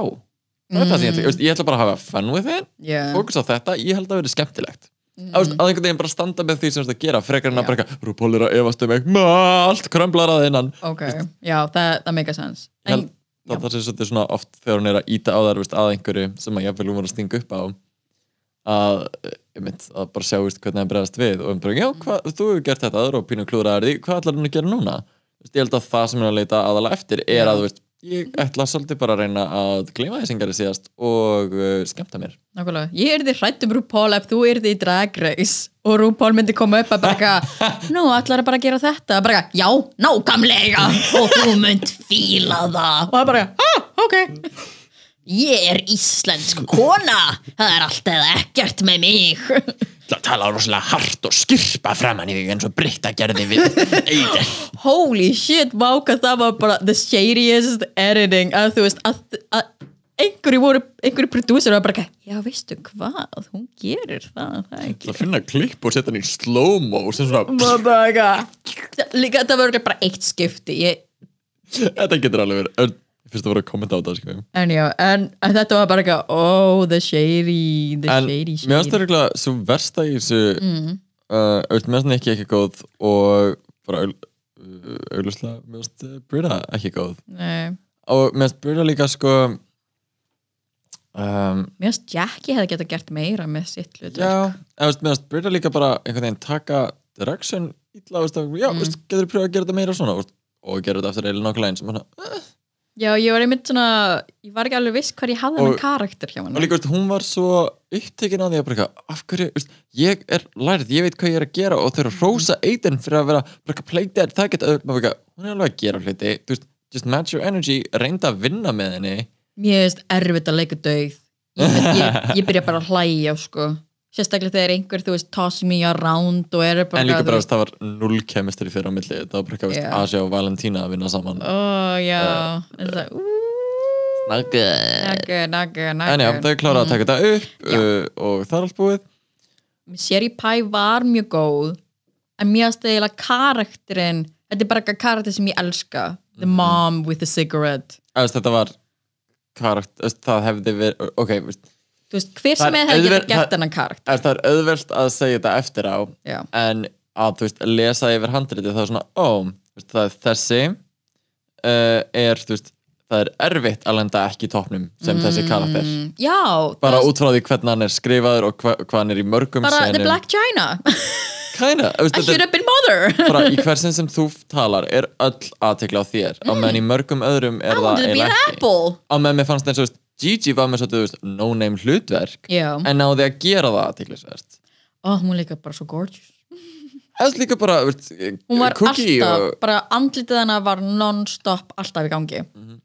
C: það er það sem
B: Mm.
C: ég ætla, Þú veist, ég ætla bara að hafa fun with it
B: yeah.
C: fókus á þetta, ég held að það verið skemmtilegt mm. að einhvern veginn bara standa með því sem þetta gera frekar en að
B: Já.
C: bara eitthvað, RuPaul er að efast um eitthvað allt krömblar að innan
B: ok, já, það, það make a sense
C: Ég
B: en,
C: held- það, það sé svolítið svona oft þegar hún er að íta á þær veist, að einhverju sem að jafnvel hún var að stinga upp á að, eh, einmitt, að bara sjá veist, hvernig hann bregðast við og um bara, já, hva, þú hefur gert þetta aður og pínu klúraðar því, hvað ætlar hún að gera núna? Veist, ég held að það sem hún er að leita aðalega eftir er að, þú veist, ég ætla svolítið bara að reyna að gleyma þess engari síðast og uh, skemmta mér.
B: nákvæmlega, ég er því hrætt um RuPaul ef þú er því drag race og RuPaul myndi koma upp að bara ekki nú, allar bara að gera þetta bara ekki, já, nákvæmlega og þú mynd fíla það og það bara, ah, ok ég er íslensk kona það er allt eða ekkert með mig
C: Það tala rosalega hart og skirpa framann í því eins og Britta gerði við Eidel.
B: holy shit, váka það var bara the shadiest editing að þú veist að, að einhverju voru, einhverju prodúsir var bara ekki, já veistu hvað, hún gerir það, það er ekki
C: Það finna klipp og setja hann í slow-mo sem svona,
B: Maður bara eitthvað- líka það var örugglega bara eitt skipti ég,
C: þetta getur alveg verið. Fyrst að voru að kommenta á þetta, sko.
B: en já, en, en þetta var bara eitthvað, oh the shady the
C: en
B: shady
C: mér finnst
B: shady
C: það regla svo versta í þessu mm. uh, auðvitað mér finnst það ekki ekki góð og bara augl- uh, augljóslega mér finnst uh, Brita ekki góð
B: Nei.
C: og mér finnst Brita líka sko um,
B: mér finnst Jackie hefði getað gert meira með sitt hlut
C: já, eða, veist, mér finnst Brita líka bara einhvern veginn taka direction ítla, veist, og- já, mm. veist, getur pröfað að gera þetta meira svona veist, og gera þetta eftir eilin og klæn sem hann
B: já, ég var einmitt svona ég var ekki alveg viss hvað ég hafði
C: Og-
B: hennar karakter hjá
C: og
B: hennar
C: líka, veist, hún var svo upptekin að því að bara eitthvað, af hverju, veist, ég er lærið, ég veit hvað ég er að gera og þau eru að rósa eiten fyrir að vera, bara eitthvað play dead, það geta, maður bara eitthvað, hún er alveg að gera hluti, þú veist, just match your energy, reynda að vinna með henni,
B: Mér finnst erfitt að leika dauð ég, ég, ég byrja bara að hlæja sko. sérstaklega þegar einhver þú veist toss me around og er bara
C: en líka
B: þú
C: bara,
B: veist,
C: veist, það var null kemistri fyrir á milli, það var bara eitthvað, veist,
B: Já.
C: Asia og Valentina að vinna saman,
B: ó já en það
C: not good,
B: nagga, nagga,
C: en já, þau
B: nagga
C: kláraði að taka þetta upp uh, og það er allt búið,
B: Sherry Pie var mjög góð en mér finnst eiginlega karakterinn þetta er bara eitthvað karakter sem ég elska the
C: Mhm.
B: mom with the cigarette
C: Eða, veist, þetta var karakt, veist, það hefði verið, ok, veist,
B: þú veist, hver
C: Það
B: sem
C: er
B: er hefði
C: auðvelt-
B: getað gert
C: það-
B: hennan karakter
C: Eða, það er auðvelt að segja þetta eftir á
B: já,
C: en að þú veist, lesa yfir handritið þá er svona, ó, þú veist, það er þessi uh, er, þú veist það er erfitt að lenda ekki í topnum sem
B: Mm.
C: þessi karakter,
B: já
C: bara
B: það-
C: út frá því hvernig hann er skrifaður og hva, hvað hann er í mörgum
B: bara the
C: senum
B: black china
C: Kinda, þú veist,
B: I
C: þetta
B: should
C: er
B: have been mother
C: bara í hversin sem þú talar er öll aðtekla á þér á meðan í mörgum
B: Mm.
C: öðrum
B: I
C: er það
B: wanted to be an
C: eiginlega ekki
B: apple
C: á meðan mér fannst eins og þú veist, Gigi var með svolítið þú veist, no-name hlutverk
B: Já,
C: en náði að gera það aðteklisvert
B: og hún líka bara svo gorgeous
C: eða líka bara þú veist,
B: Hún var
C: Cookie
B: alltaf,
C: og,
B: bara andlitið hennar var non-stop alltaf í gangi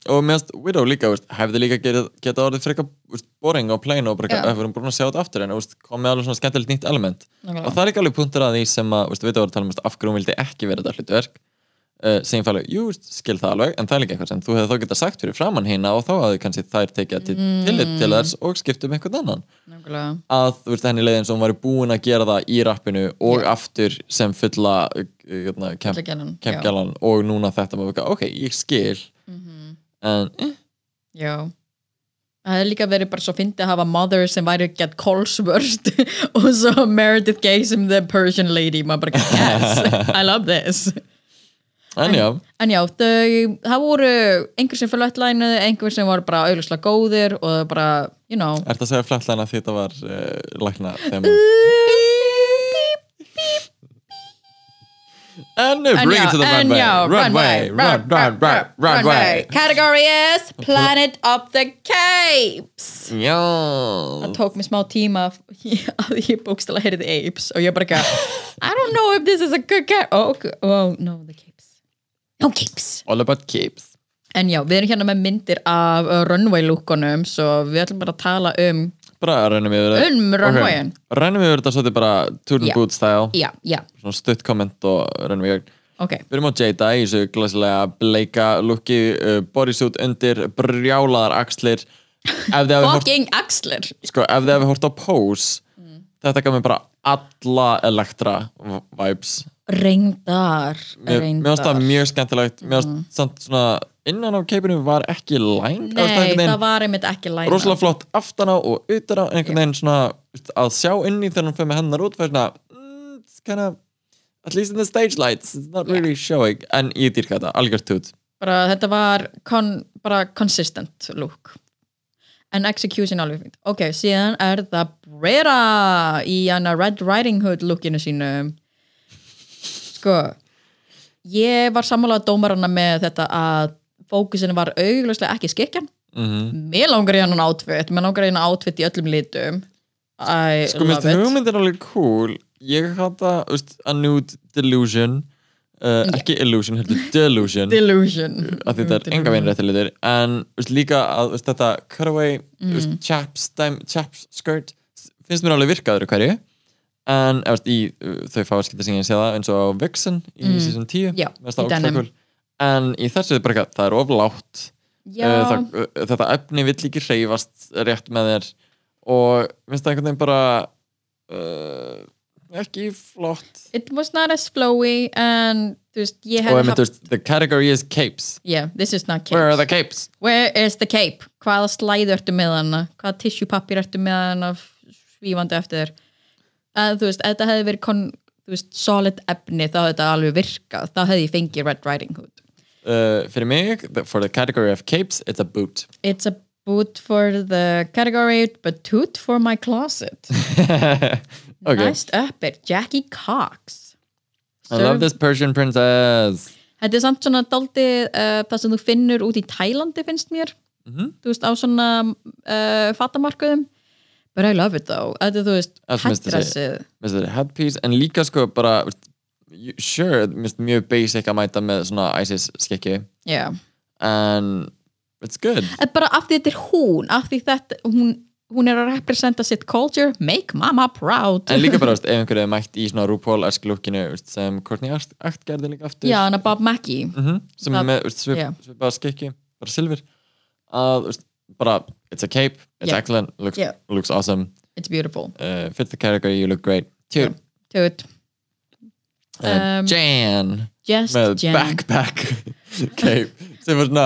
C: og meðast Widow líka þú veist, hefði líka getað geta orðið frekar þú veist, boring og plain og bara
B: Já.
C: yeah. hefur hún búin að sjá þetta aftur en þú veist, kom með alveg svona skemmtilegt nýtt element og
B: Nákvæmlega.
C: það er ekki alveg punktur að því sem að þú veist, Widow var að tala um þú veist, af hverju hún vildi ekki vera þetta hlutverk uh, sem ég fælu, jú, þú veist, skil það alveg en það er líka eitthvað sem þú hefði þá getað sagt fyrir framann hina og þá hafði kannski þær tekið til,
B: Mm.
C: tillit til þess og skipt um einhvern annan
B: Nákvæmlega.
C: að þú veist henni leiðin sem hún væri búin að gera það í rappinu og
B: Já.
C: aftur sem fulla uh, hérna,
B: Fulla gælan, já.
C: kempgjalan og núna þetta maður ok, ég skil
B: Mhm.
C: en eh,
B: Já Það hefði líka verið bara svo fyndið að hafa Mother sem væri get Colesworth og svo Meredith Gay sem the Persian lady maður bara, yes, I love this
C: en já,
B: En já, þau, það voru einhver sem fyrir ætlæðinu, einhver sem var bara auðvitað góðir og það bara, you know
C: ert að segja flettlæna að þetta var uh, lækna þema en nú,
B: En
C: bring
B: já,
C: it to the
B: en
C: runway
B: já,
C: runway, run, run, run, runway
B: Category is Planet of the Capes
C: já
B: það tók mér smá tíma að að ég bókstala heyrði apes og ég bara ekki I don't know if this is a good cat oh, okay. oh no, the capes no capes
C: all about capes
B: en já, við erum hérna með myndir af uh, runway lúkonum svo við ætlum bara að tala um
C: bara rennum yfir þetta.
B: Um runwayn.
C: Ok, rennum yfir þetta svolítið bara turn
B: Já.
C: yeah. boot style
B: já, já,
C: svona stutt komment og rennum í gegn
B: ok
C: Við erum á Jada í þessu glæsilega bleika lukki, uh, bodysuit undir brjálaðar axlir ef þið hafi hort,
B: fucking axler
C: sko, ef þið hafi hort á pose þetta gaf mér bara alla Elektra v- vibes
B: reyndar,
C: Mér mér
B: reyndar Mm.
C: fannst það mjög skemmtilegt mér fannst samt svona innan á keipinu var ekki lænd
B: nei, það var einmitt ekki læna
C: rosalega flott aftan á og utan á en einhvern veginn svona veist, að sjá inn í þegar hún fyrir með hennar út fyrir svona mm, it's kind of at least in the stage lights it's not really showing en ég dýrka þetta, algjört tút
B: bara þetta var kon, bara consistent look en execution alveg fint ok, síðan er það Brera í hana Red Riding Hood lookinu sínu sko ég var sammála dómarana með þetta að fókusinu var augljóslega ekki skikjan
C: mm -hmm.
B: mér langar í hann átfitt, mér langar í hann átfitt í öllum litum I
C: sko mér
B: love
C: finnst
B: it
C: hugmyndin alveg cool ég hata veist, a nude delusion uh, ekki illusion, heldur delusion
B: delusion
C: að þetta er enga veginn réttilegður en veist, líka að veist, þetta cutaway mm. chaps, dæm, chaps skirt finnst mér alveg virkaður hverju en eða, veist, í uh, þau fáskipta sem ég sé það eins og á Vixen í mm. season 10
B: Já,
C: mér finnst það
B: í
C: ógeðslega
B: denim.
C: cool. en í þessu er bara eitthvað, það er oflátt
B: já,
C: uh, það, uh, þetta efni vill ekki hreyfast rétt með þér og finnst það einhvern veginn bara uh, ekki flott
B: it was not as flowy and þú veist, ég
C: og
B: hefði
C: ég
B: haft-
C: myndi, veist, the category is capes
B: Yeah, this is not
C: where
B: capes.
C: are the capes?
B: Where is the cape? Hvaða slæðu ertu með hana? Hvaða tissjúpappir ertu með hana svífandi eftir þér? Að, þú veist, ef þetta hefði verið kon, þú veist, solid efni, þá hefði þetta alveg virkað. Þá hefði ég fengið Red Riding Hood.
C: uh, fyrir mig, the- for the category of capes it's a boot
B: It's a boot for the category, but toot for my closet.
C: okay.
B: Næst uppir, Jackie Cox.
C: I love this Persian princess
B: Þetta er samt svona daldi uh, það sem þú finnur út í Tælandi finnst mér
C: Mhm.
B: þú veist á svona uh, fatamarkuðum but I love it though þetta er þú veist
C: Allt mest að
B: hættræsið
C: Mér finnst þetta headpiece en líka sko bara veist, you- sure, mér finnst mjög basic að mæta með svona ISIS skikki
B: yeah.
C: en it's good
B: En bara af því þetta er hún af því þetta, hún, hún er að representa sitt culture, make mama proud
C: en líka bara veist, ef einhverju er mætt í svona RuPaul esk lukkinu sem Courtney Act, Act gerði líka aftur
B: já, hann er Bob Mackie
C: Mhm, sem er
B: Það-
C: með veist, svip,
B: já.
C: svipaða skikki bara silfur að veist, bara it's a cape, it's
B: Já.
C: excellent looks,
B: Já.
C: looks awesome
B: it's beautiful,
C: uh, fits the category, you look great Two.
B: dude
C: um,
B: Um,
C: Jan
B: just
C: með
B: Jen
C: backpack cape sem var svona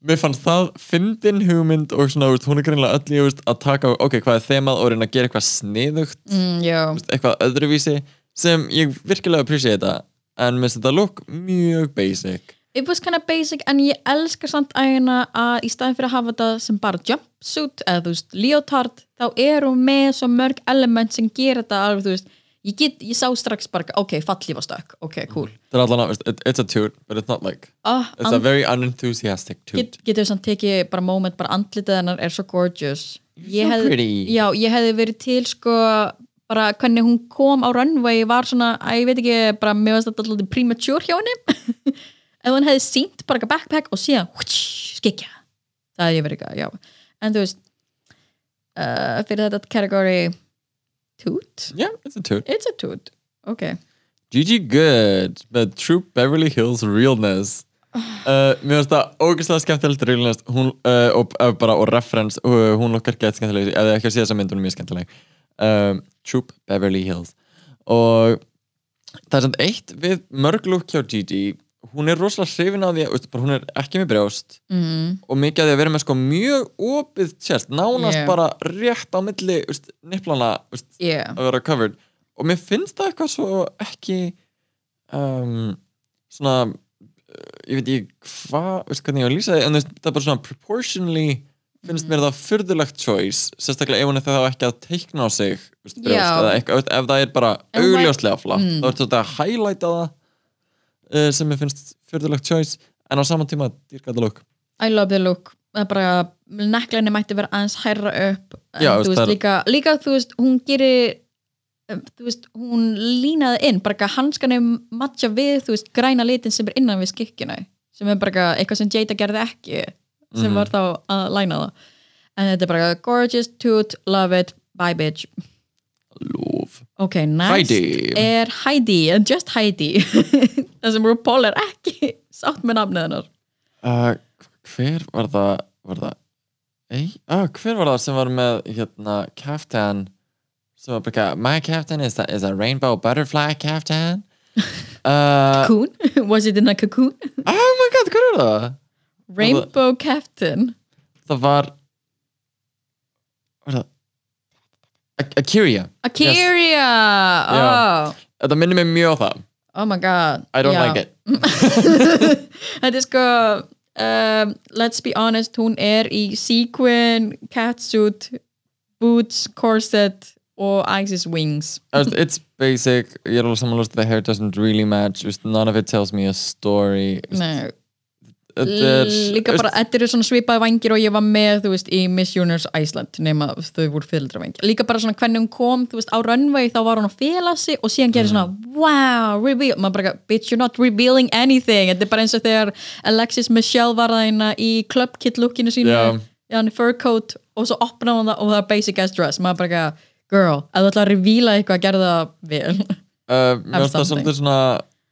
C: mér fannst það fyndin hugmynd og svona, veist, hún er greinilega öll í þú veist, að taka ok, hvað er þemað og reyna að gera eitthvað sniðugt
B: mm, já,
C: veist, eitthvað öðruvísi sem ég virkilega appreciate en mér finnst þetta look mjög basic
B: it was kind of basic en ég elska samt ægina að í staðin fyrir að hafa þetta sem bara jumpsuit eða þú veist, leotard þá er hún með svo mörg element sem gera þetta alveg þú veist ég, get, ég sá strax bara, ok, fallið var stökk ok, cool
C: Það er allan að, it- it's a toot, but it's not like
B: ah,
C: It's a very unenthusiastic toot
B: get, getur samt tekið bara moment bara andlitið hennar er svo gorgeous ég
C: so
B: hefði,
C: pretty.
B: já, ég hefði verið til sko bara hvernig hún kom á runway var svona, að ég veit ekki bara mér varst þetta alltaf premature hjá henni ef hún hefði sínt bara eitthvað backpack og síðan hútsch, skikja það hefði ég verið ekki, já en þú veist uh, fyrir þetta category toot,
C: Yeah, it's a toot
B: it's a toot ok,
C: Gigi Good með True Beverly Hills Realness uh, Mér finnst það ógeðslega skemmtilegt Realness hún, uh, og, uh, bara, og reference uh, hún lukkar gett skemmtileg ef þið ekki að sé þessa mynd, hún er mjög skemmtileg um, True Beverly Hills og það er samt eitt við mörg lúk hjá Gigi hún er rosalega hrifin af því að veist, bara hún er ekki með brjóst
B: mm,
C: og mikið af því að vera með sko mjög opið tjæst, nánast
B: Yeah.
C: bara rétt á milli veist, nipplana veist,
B: yeah
C: að vera covered og mér finnst það eitthvað svo ekki um, svona uh, ég veit ekki hvað, veist hvernig ég var að lýsa því en þú veist, það er bara svona proportionally finnst
B: Mm.
C: mér það fyrðulegt choice sérstaklega ef hún er það ekki að teikna á sig veist, brjóst,
B: Já.
C: eða eitthvað, ef það er bara
B: En hún væri-
C: augljóslega flatt,
B: Mm.
C: þá er þetta að highlighta það uh, sem mér finnst fyrðulegt choice en á saman tíma dýrkæta lúk
B: I love the look það er bara neklæni mætti vera aðeins hærra upp en
C: Já,
B: þú
C: veist,
B: veist
C: það er-
B: líka, líka þú veist hún gerir um, þú veist hún línaði inn bara ekki að hanskan er matcha við þú veist græna litin sem er innan við skikkinu sem er bara eitthvað- eitthvað sem Jada gerði ekki sem
C: Mhm.
B: var þá að læna það en þetta er bara gorgeous, toot, love it bye bitch
C: Lúf
B: ok, next
C: Heidi
B: er Heidi, and just Heidi það sem RuPaul er ekki sátt með nafnið hennar
C: uh, hver var það var það ei, uh, hver var það sem var með hérna kaftan sem var bara my kaftan is, a- is a rainbow butterfly kaftan uh,
B: cocoon, was it in a cocoon?
C: oh my god, hver var það
B: Rainbow Captain
C: það var var það A- Akira,
B: Akiria oh.
C: þetta minnir mig mjög á það
B: oh my god
C: I don't
B: Já.
C: like it
B: Þetta er sko um, Let's be honest, hún er í sequin, catsuit boots, corset og Isis wings
C: It's- er, It's basic, ég er alveg samanlust The hair doesn't really match, Just none of it tells me a story
B: Nei,
C: Þetta er-
B: Líka bara,
C: Just-
B: þetta eru svona svipaði vangir og ég var með, þú veist, í Miss Universe Iceland nema þau voru fylgdra vangir Líka bara svona hvernig hún kom, þú veist, á runway þá var hún að fela sig og síðan
C: Mm.
B: gerir svona wow, reveal, maður bara, bitch, you're not revealing anything, þetta er bara eins og þegar Alexis Michelle var þaðina í club kid lookinu sínu,
C: Já.
B: yeah. hann fur coat og svo opnaði hún það og það er basic ass dress maður bara, girl, ef þú ætlar að reveala eitthvað, gerðu það vel
C: Uh, mér finnst það
B: something.
C: svolítið svona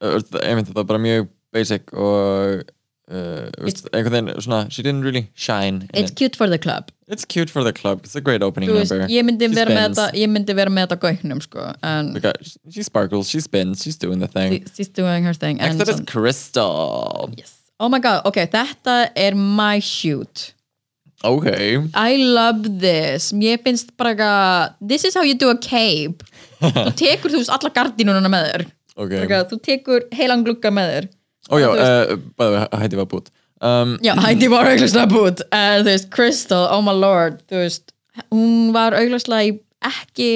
C: uh, einmitt þetta er bara mjög basic og uh, veist, einhvern veginn svona she didn't really shine in
B: It's
C: it.
B: cute for the club
C: it's cute for the club, it's a great opening
B: Þú veist,
C: number
B: ég myndi
C: She
B: vera með
C: spins.
B: þetta ég myndi vera með þetta á gaugnum sko, en
C: Look at- she sparkles, she spins, she's doing the thing
B: She- she's doing her thing
C: next
B: and
C: up is
B: some-
C: Crystal
B: yes. oh my god, ok, þetta er my shoot
C: ok,
B: I love this mér finnst bara eitthvað this is how you do a cape þú tekur þú veist alla gardínuna með þér
C: ok
B: Bara eitthvað, þú tekur heilan glugga með þér
C: og já,
B: þú veist-
C: uh, bæði hætti var bútt um,
B: já, Heidi var auglustlega bútt uh, þú veist, Crystal, oh my lord þú veist, hún var auglustlega ekki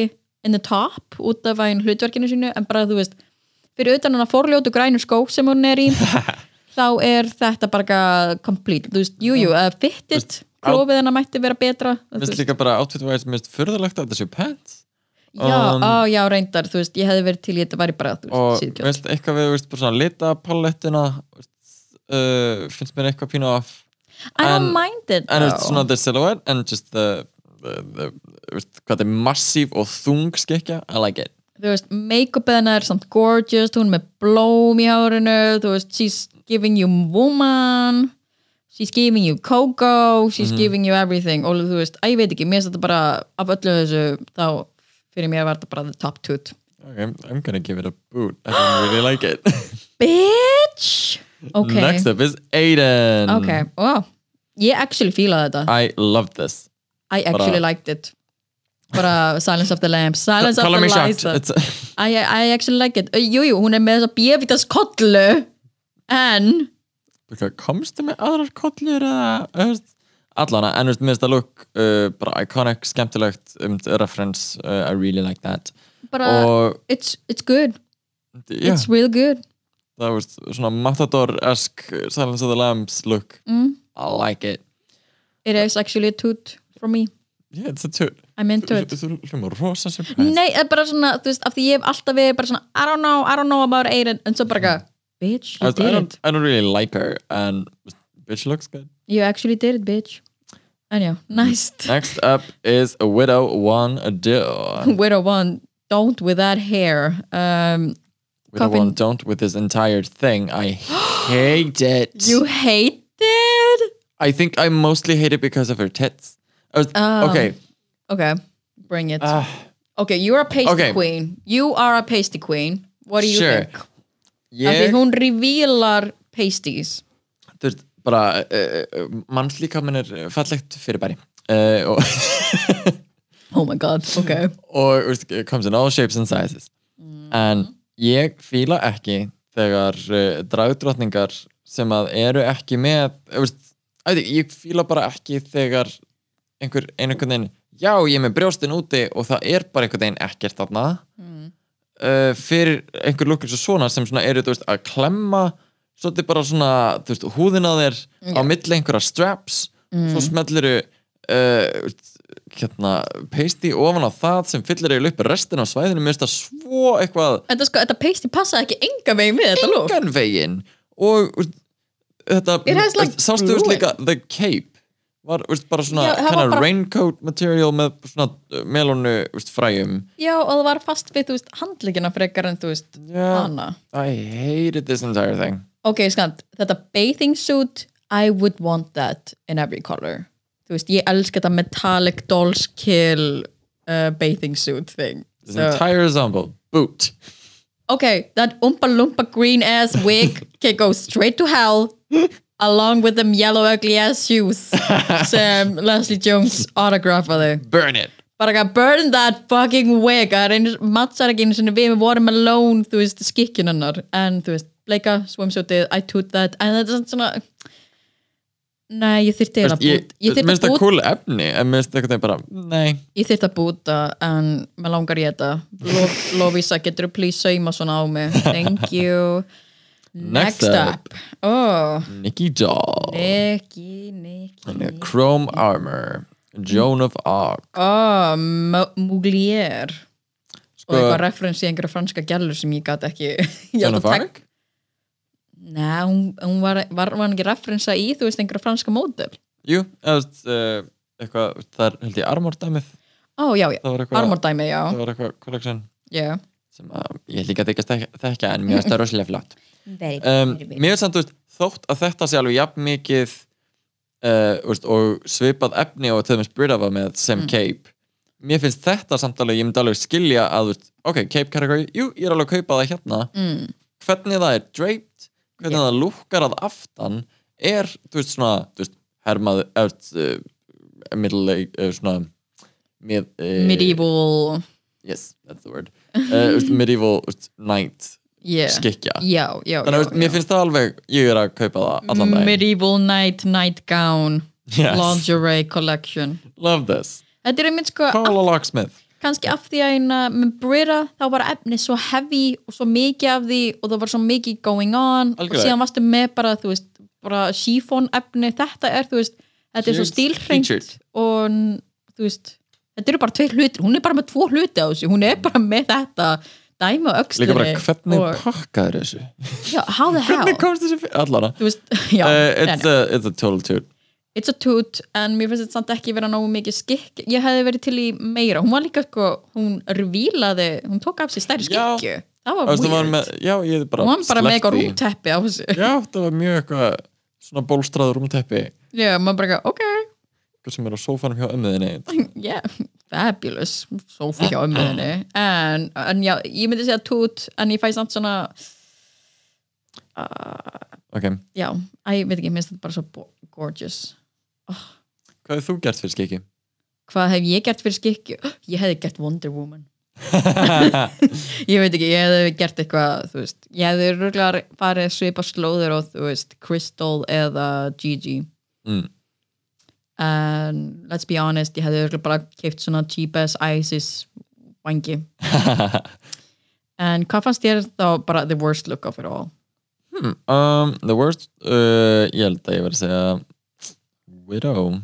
B: in the top út af að hlutverkinu sínu en bara þú veist, fyrir utan hann að forljótu grænu skó sem hún er í þá er þetta bara complete þú veist, jújú, jú, uh, fittit
C: á-
B: klófið hennar mætti vera betra þú
C: mér
B: veist.
C: finnst líka bara outfit wise mér finnst furðulegt að þetta séu pants
B: já,
C: um,
B: á, já, reyndar, þú veist, ég hefði verið til í þetta væri bara, þú
C: og
B: veist,
C: mér
B: síðkjótt
C: finnst eitthvað við veist, bara svona litapalettuna uh, finnst mér eitthvað pínu off
B: I don't
C: en-
B: mind it
C: and it's
B: though.
C: not the silhouette and just the, the, the veist, hvað þetta er massív og þung skekja I like it
B: þú veist, make-upið hennar er samt gorgeous, hún er með blóm í hárinu, þú veist, she's giving you woman, she's giving you cocoa, she's
C: Mhm.
B: giving you everything, og þú veist, að ég veit ekki, mér finnst þetta bara, af öllu þessu, þá fyrir mér var þetta bara the top toot.
C: okay, I'm- I'm gonna give it a boot I don't really like it
B: Bitch! Ok,
C: next up is Aiden
B: ok, wow, ég actually fílaði þetta,
C: I love this
B: I actually
C: bara-
B: liked it. Bara Silence of the Lambs, Silence of
C: Color
B: the
C: me
B: Lies.
C: shocked It's-
B: I, I actually like it. Uh, Jú, jú, hún er með þessa bjöfitas kollu, en...
C: Hvað, komstu með aðrar kollur eða þú veist, allana en þú veist, mér finnst það look uh, bara iconic, skemmtilegt um, reference, uh, I really like that
B: bara,
C: og
B: it's, it's good,
C: já,
B: it's real good
C: það var svona Matador-esk Silence of the Lambs look
B: mm.
C: I like it
B: it is actually a toot from me,
C: yeah, it's a toot
B: I'm into
C: Þú-
B: it
C: þú hljómar rosa surprise
B: Nei, það er bara svona, þú veist, af því ég hef alltaf verið bara svona, I don't know, I don't know about Aiden en svo bara eitthvað, bitch, you
C: I, I,
B: did it
C: don't, I don't really like her and bitch looks good
B: you actually did it, bitch en já, næst
C: next up is a widow one a do
B: Widow One, don't with that hair um,
C: widow
B: Coffin.
C: one don't with this entire thing I hate it
B: you hate it
C: I think I mostly hate it because of her tits I was-
B: Oh.
C: okay
B: okay, bring it
C: Ah.
B: okay, you're a pasty
C: Okay.
B: queen you are a pasty queen, what do you
C: Sure.
B: think? Af því
C: ég
B: hún revealar pasties
C: þú veist, bara uh, mannslíkamin er fallegt fyrirbæri uh, og,
B: oh my god, ok
C: og úst, it comes in all shapes and sizes en ég fíla ekki þegar uh, dragdrottningar sem að eru ekki með eh, úst, að, ég fíla bara ekki þegar einhver, einhvern veginn já, ég er með brjóstin úti og það er bara einhvern veginn ekkert þarna uh, fyrir einhver lukkur svo svona sem svona eru, þú veist, að klemma svolítið bara svona, þú veist, húðin á þér á milli einhverja straps svo
B: Mm.
C: smellir uh, hérna, peisti ofan á það sem fyllir eiginlega upp restin á svæðinu, mér finnst það svo eitthvað
B: Þetta sko, þetta pasty passaði ekki enga megin við þetta lúk
C: engan veginn og úr, þetta
B: It has, like,
C: sástu úr,
B: ruined.
C: líka the cape var úr, bara svona
B: Já, það var
C: kind of
B: bara-
C: raincoat material með svona uh, melónu úr, fræjum
B: Já, og það var fast við, þú veist, handleikina frekar en þú veist,
C: yeah,
B: hana
C: I hated this entire thing
B: Ok, skant, þetta bathing suit I would want that in every color Þú veist, ég elska þetta metallic doll's kill uh, bathing suit thing
C: this
B: so,
C: entire ensemble, boot
B: Ok, that umpa lumpa green ass wig can go straight to hell along with them yellow ugly ass shoes sem Leslie Jones autografaði
C: burn it
B: bara ekki að burn that fucking wig það er einu, mattsar ekki einu sinni við við vorum alone, þú veist, skikkjunarnar en þú veist, bleika, swimsuitið, I toot that en þetta er samt svona nei, ég þyrfti eiginlega að
C: ég,
B: búta ég þyrfti
C: minnst það
B: að búta,
C: cool efni en minnst eitthvað bara, nei
B: ég þyrfti að búta en mér langar ég þetta Lo- Lovisa, getur þú please sauma svona á mig thank you
C: Next
B: next, up, oh
C: Nikki Doll
B: Nikki, Nikki
C: Chrome Armor Joan of Arc
B: oh, M- Mouglier og
C: Sko-
B: eitthvað referensi í einhverja franska gælur sem ég gat ekki ég átti
C: Joan of
B: að taka-
C: Arc?
B: Nei, hún, hún var, var, var hann ekki referensa í, þú veist, einhverja franska módel.
C: Jú, eða uh, eitthvað, það er held ég Armor dæmið
B: Ó, já, já,
C: það var eitthvað,
B: armordæmi, já.
C: það var eitthvað collection
B: Yeah.
C: sem að, ég held líka að þykja þekka, þekka en mjög stöður rosalega flott
B: Very
C: um, mér er samt úst, þótt að þetta sé alveg jafn mikið uh, úst, og svipað efni og til dæmis Britafa með sem
B: Mm.
C: cape mér finnst þetta samt alveg, ég myndi alveg skilja að úst, ok, cape category, jú, ég er alveg að kaupa það hérna,
B: Mm.
C: hvernig það er draped, hvernig það lúkkar að aftan er, þú veist, svona þú veist, hermaður, eða uh, middle, uh, svona mið, uh,
B: Medieval,
C: yes, that's the word uh, úst, medieval úst, knight
B: yeah.
C: skikja
B: Já, já,
C: þannig að
B: já,
C: úst, mér
B: já.
C: finnst það alveg ég er að kaupa það allan daginn
B: Medieval night, nightgown,
C: Yes.
B: lingerie collection.
C: love this,
B: Þetta er einmitt sko, af,
C: Paula Locksmith
B: kannski af því að eina, með Brita þá var efni svo heavy og svo mikið af því og það var svo mikið going on
C: Algjörlega.
B: og síðan varstu með bara, þú veist, bara sífón efni, þetta er, þú veist, þetta er svo
C: Huge featured.
B: stílhreint og n- þú veist, þetta eru bara tveir hlutir, hún er bara með tvo hluti á þessu, hún er bara með þetta dæmi á öxlinni
C: líka bara hvernig
B: og,
C: pakkaður þessu
B: já, how the
C: hvernig
B: hell
C: komst þessu fyrir, allan að
B: þú veist, já,
C: Uh,
B: nei,
C: it's,
B: nei.
C: a, it's a total toot
B: it's a toot en mér finnst þetta samt ekki vera nógu mikið skikk ég hefði verið til í meira, hún var líka sko, hún revílaði, hún tók af sér stærri
C: Já.
B: skikju, það var
C: Þú veist,
B: weird
C: það var með, já, ég er bara
B: hún var bara með
C: sleppt
B: eitthvað
C: því.
B: rúmteppi á þessu
C: já, það var mjög eitthvað svona bólstraður rúmteppi
B: já, maður bara eitthvað, ok,
C: eitthvað sem er á sófanum hjá ömmuðinni
B: yeah, fabulous sófi hjá ömmuðinni en, en já, ég myndi segja toot en ég fæ samt svona
C: ok,
B: já, æ, ég veit ekki, minnst þetta bara svo bo- gorgeous
C: hvað hefur þú gert fyrir skiki?
B: hvað hef ég gert fyrir skikju ég hefði gert Wonder Woman ég veit ekki, ég hefði gert eitthvað þú veist, ég hefði rúglega farið svipa slóður og þú veist Crystal eða Gigi
C: Mm.
B: en let's be honest ég hefði rúglega bara keift svona cheap ass ISIS vangi en hvað fannst þér þá bara the worst look of it all
C: Hmm, um, the worst uh, ég held að ég verið að segja Widow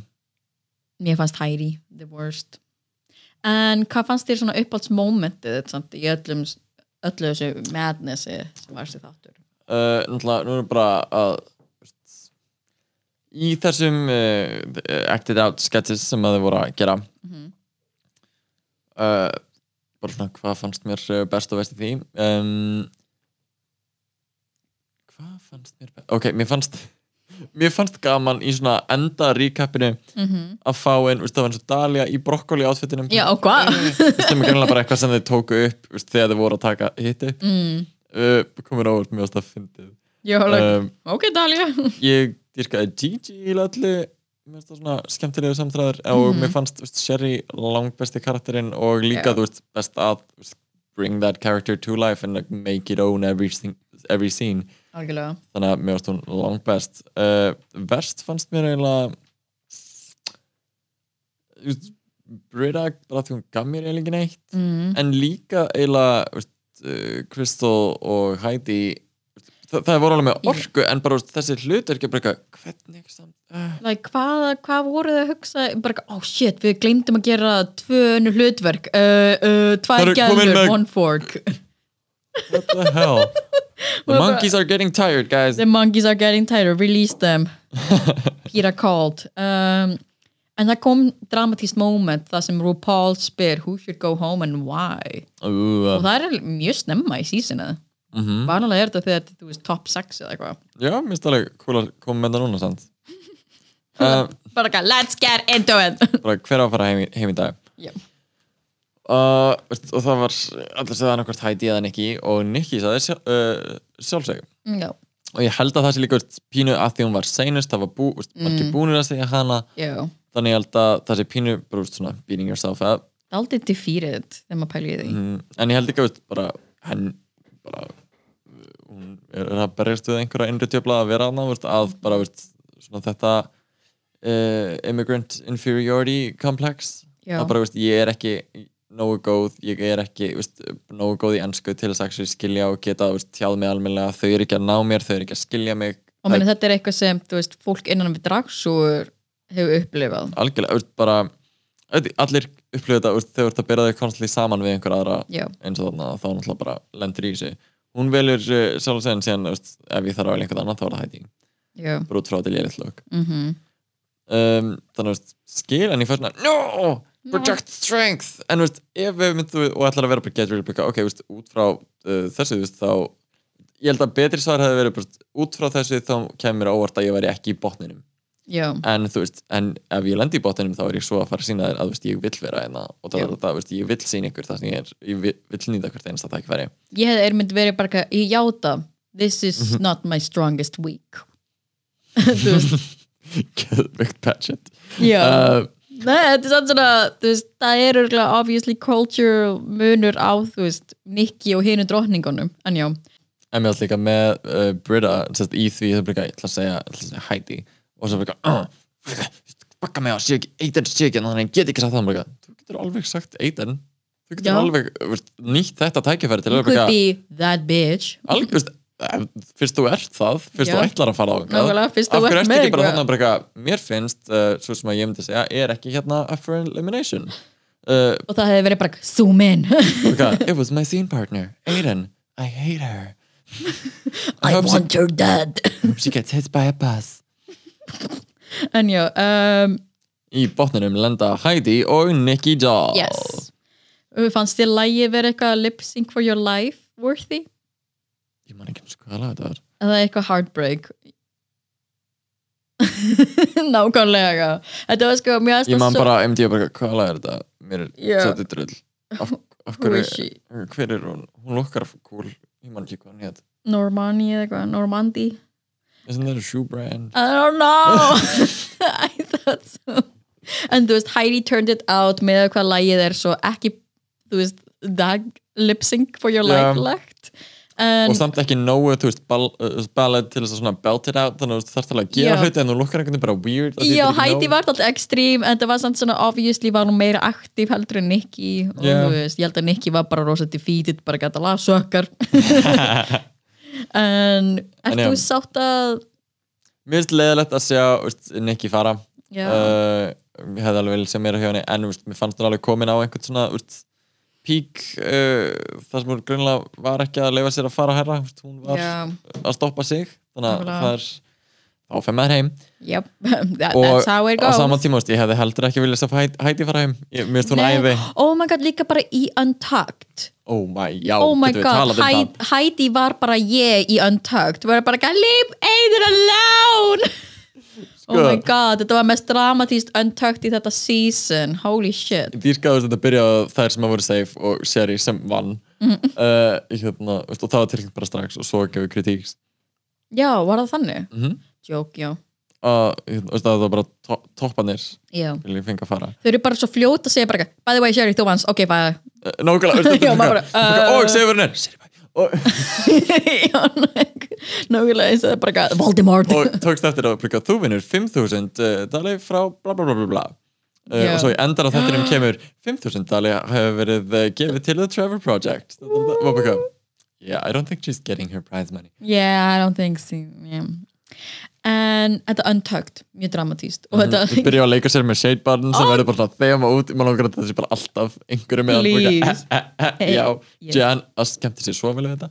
B: mér fannst Heidi the worst en hvað fannst þér svona uppáhalds momentið þitt samt í öllum öllu þessu madnessi sem var sér þáttur
C: uh, náttúrulega nú erum við bara að veist, í þessum uh, acted out sketches sem að þau voru að gera
B: Mhm.
C: uh, bara svona hvað fannst mér uh, best og best í því um, hvað fannst mér best ok, mér fannst mér fannst gaman í svona enda recapinu að fá einn, veist, það var eins og Dalia í brokkoli átfittinum
B: Mhm. já og hvað
C: sem er greinlega bara eitthvað sem þau tóku upp veist, þegar þau voru að taka hitti
B: mm.
C: uh, komur óvart mjög að fyndið
B: ég var alveg,
C: um,
B: ok Dalia
C: ég dyrkaði Gigi í lalli mér finnst það svona skemmtilegu samtræður og
B: Mhm.
C: mér fannst veist, Sherry langbesti karakterinn og líka
B: Já.
C: þú veist best að veist, bring that character to life and like, make it own every, sing- every scene
B: algjörlega
C: þannig að mér fannst hún langbest uh, verst fannst mér eiginlega þú veist, Brita bara því hún gaf mér eiginlega ekki neitt
B: mm.
C: en líka eiginlega veist, uh, Crystal og Heidi það, það voru alveg með
B: Já.
C: orku en bara veist, þessi hlut er ekki bara eitthvað hvernig samt uh,
B: like, hvað, hvað voru þau að hugsa bara, eitthvað, oh shit, við glemdum að gera tvö önnur hlutverk uh, uh,
C: Það
B: tvær
C: eru komin
B: gælur,
C: með-
B: one fork
C: what the hell the
B: Bara-
C: monkeys are getting tired guys
B: the monkeys are getting tired, release them Peter called um, en það kom dramatíst moment það sem RuPaul spyr who should go home and why og
C: uh,
B: það er mjög snemma í seasonu
C: mm -hmm.
B: vanalega er þetta þegar þetta, þú veist top 6 eða eitthvað
C: já, mér finnst alveg cool að koma með það núna samt uh,
B: bara eitthvað, let's get into it
C: bara hver á að fara heim, í- heim í dag
B: Yep.
C: uh, veist, og það var allir sagði hann okkur Heidi eða Nikki og Nikki sagði sjálf, uh, sjálfsög
B: já,
C: og ég held að það sé líka veist, pínu að því hún var seinust það var bú, veist, margir búnir að segja hana
B: já það
C: þannig ég held að það sé pínu bara, veist, svona, beating yourself up
B: er aldrei defeated þegar maður pælir í því
C: mm, en ég held ekki veist, bara, henn bara, uh, hún er er að berjast við einhverja innri tjöfla að vera hana veist, að bara veist, svona, þetta uh, immigrant inferiority complex
B: já,
C: að bara veist, ég er ekki nógu góð, ég er ekki veist, nógu góð í ennsku til þess að actually skilja og geta veist, tjáð mig almennilega, þau eru ekki að ná mér þau eru ekki að skilja mig
B: og meni, þetta er eitthvað sem þú veist, fólk innan við dragsúur hefur upplifað
C: algjörlega, veist, bara veit, allir upplöðu þetta veist, þegar þú ert að byrja þau konstantly saman við einhver aðra
B: já,
C: eins og þarna, þá náttúrulega bara lendir í þessu hún velur uh, sjálf og segja síðan veist, ef ég þarf að velja einhvern annan þá er það hætti
B: já,
C: bara út frá til ég er eitthvað
B: mhm
C: um, þannig veist, skil en ég fær svona no, project strength en veist, ef við myndum og ætlar að vera bara get real bara, ok, veist, út frá uh, þessu veist, þá, ég held að betri svar hefði verið bara, út frá þessu þá kemur óvart að ég væri ekki í botninum
B: já,
C: en þú veist, en ef ég lendi í botninum þá er ég svo að fara að sína þér að þú veist, ég vill vera einna og það
B: Já.
C: er þetta, þú veist, ég vill sína ykkur það sem ég er, ég vi- vill nýta hvert einsta tækifæri
B: ég hefði er myndi verið bara eitthvað, ég játa this is
C: Mhm.
B: not my strongest week þú veist
C: geðveikt patchett
B: já,
C: uh,
B: Nei, þetta er samt svona þú veist, það er örgulega obviously culture munur á þú veist Nikki og hinu drottningunum en já,
C: en mér alltaf líka með uh, Brita sest, í því það byrja, ég ætla að segja, ég ætla að segja Heidi og svo byrja, uh, bakka mig á sé ekki, Aiden sé ekki, þannig að ég get ekki sagt það byrja, þú getur alveg sagt Aiden þú getur
B: Já.
C: alveg uh, veist, nýtt þetta tækifæri til
B: you
C: að
B: could
C: byrja,
B: be that bitch
C: alveg veist, ef- fyrst þú ert það, fyrst
B: Já.
C: þú ætlar að fara á eitthvað,
B: nákvæmlega, fyrst
C: af
B: þú
C: hverju
B: ert
C: ertu
B: með
C: ekki bara
B: eitthvað
C: þannig að byrja, mér finnst uh, svo sem að ég myndi segja, er ekki hérna up for elimination uh,
B: og það hefði verið bara zoom in
C: byrja, it was my scene partner, Aiden I hate her
B: I
C: hope she-
B: want her dead
C: she gets hit by a bus
B: en já, um,
C: Í botninum lenda Heidi og Nicky Doll
B: yes
C: Oh.
B: fannst þér lægi verið eitthvað lip sync for your life worthy?
C: Ég man ekki eins og hvað lag þetta er
B: Eða eitthvað heartbreak Nákvæmlega Þetta var sko mjög
C: Ég
B: aðstæða
C: man bara, MD er bara, hvað lag er þetta? Mér er
B: Já.
C: svo þetta drull Af, af
B: Who
C: hverju,
B: is she?
C: hver er hún? Hún lukkar cool, ég man ekki hvað hann hétt
B: Normani eða eitthvað, Normandi
C: Isn't that a shoe brand?
B: I don't know I thought so En þú veist, Heidi turned it out með hvað lægið er svo ekki, þú veist, dag lip sync for your
C: Já.
B: life lagt en
C: og samt ekki nógu, þú veist, ball, uh, ballad til þess að svona belt it out þannig að þú þarf alveg að gera
B: Já.
C: hluti en þú lukkar einhvern veginn bara weird af því
B: já,
C: þetta er ekki
B: Heidi
C: nógu-
B: var alltaf ekstrím en það var samt svona obviously var hún meira aktív heldur en Nikki og
C: Já.
B: þú veist, ég held að Nikki var bara rosa defeated bara gæta laga sökkar en
C: En
B: ert
C: já.
B: þú sátt að
C: Mér finnst leiðilegt að sjá veist, Nicky fara
B: já,
C: uh, ég hefði alveg viljað sjá meira hjá henni en veist, mér fannst hún alveg komin á einhvern svona veist, pík uh, þar sem hún grunlega var ekki að leifa sér að fara herra, veist, hún var
B: já,
C: að stoppa sig þannig að
B: Nákvæmlega.
C: það er þá fer maður heim
B: yep. That,
C: og
B: that's how it
C: á
B: goes
C: sama tíma veist, ég hefði heldur ekki viljað sjá Heidi- Heidi fara heim ég, mér finnst hún
B: Nei.
C: æði
B: oh my god, líka bara í Untucked
C: oh my, já,
B: oh my
C: getum við
B: god,
C: talað um það?
B: Heid- Heidi var bara ég í Untucked, var bara ekki leave Aiden alone
C: Sko.
B: oh my god, þetta var mest dramatíst Untucked í þetta season holy shit,
C: dýrkaðust þetta byrjaði á þær sem að voru safe og Sherry sem vann
B: Mm.
C: uh, hérna, veist, og það var tilkynnt bara strax og svo gefið kritík
B: já, var það þannig
C: Mhm.
B: joke, já,
C: uh, hérna, veist, það var bara to toppanir
B: já
C: vil ég fengi að fara
B: þau eru bara svo fljóta að segja bara eitthvað, by the way Sherry, þú vannst, ok, bye
C: uh, nákvæmlega, veist,
B: Já,
C: þetta
B: maður
C: er
B: bara,
C: bara,
B: uh.
C: og segurinn er Sherry bye og,
B: já, nákvæm- nákvæmlega eins og það er bara eitthvað, Voldemort
C: og tókst eftir að bruka, þú vinnur 5000 uh, dali frá bla bla bla bla bla Uh,
B: Já. Ah.
C: og svo í endar á þettinum kemur 5000 dali hefur verið uh, gefið til The Trevor Project og bara eitthvað, yeah, I don't think she's getting her prize money
B: yeah, I don't think so yeah. en þetta Untucked, mjög dramatíst og
C: Þið
B: þetta
C: byrja að leika sér með shade button sem
B: Oh.
C: verður bara svona þema út maður langar að það sé bara alltaf einhverju með Eh,
B: Please.
C: að já,
B: Yes.
C: Jan að skemmti sér svo vel við þetta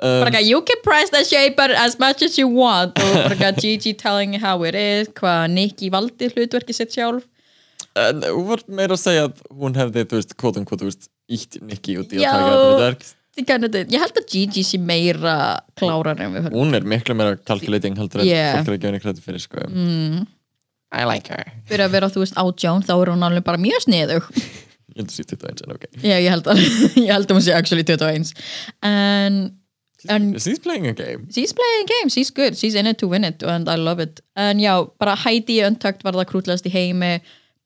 B: bara eitthvað, you can press the shaper as much as you want og bara eitthvað, Gigi telling you how it is hvað Nikki valdi hlutverki sitt sjálf
C: en hún var meira að segja að hún hefði, þú veist, kvotun kvot, þú veist ítt Nikki út í
B: Já.
C: að taka þetta verk
B: Þið kannu þetta- ég held að Gigi sé meira klárar en við höllum
C: hún er miklu meira calculating heldur en
B: Yeah. Mm.
C: fólk er að gefa henni kredi fyrir sko I like her
B: fyrir að vera þú veist átján þá er hún alveg bara mjög sniðug
C: ég heldur sér 21 en ok
B: já, ég held að, ég held að hún sé actually 21 en En-
C: she's playing a game
B: she's playing games, she's good, she's in it to win it and I love it. En já, bara Heidi Untucked var það krútlegast í heimi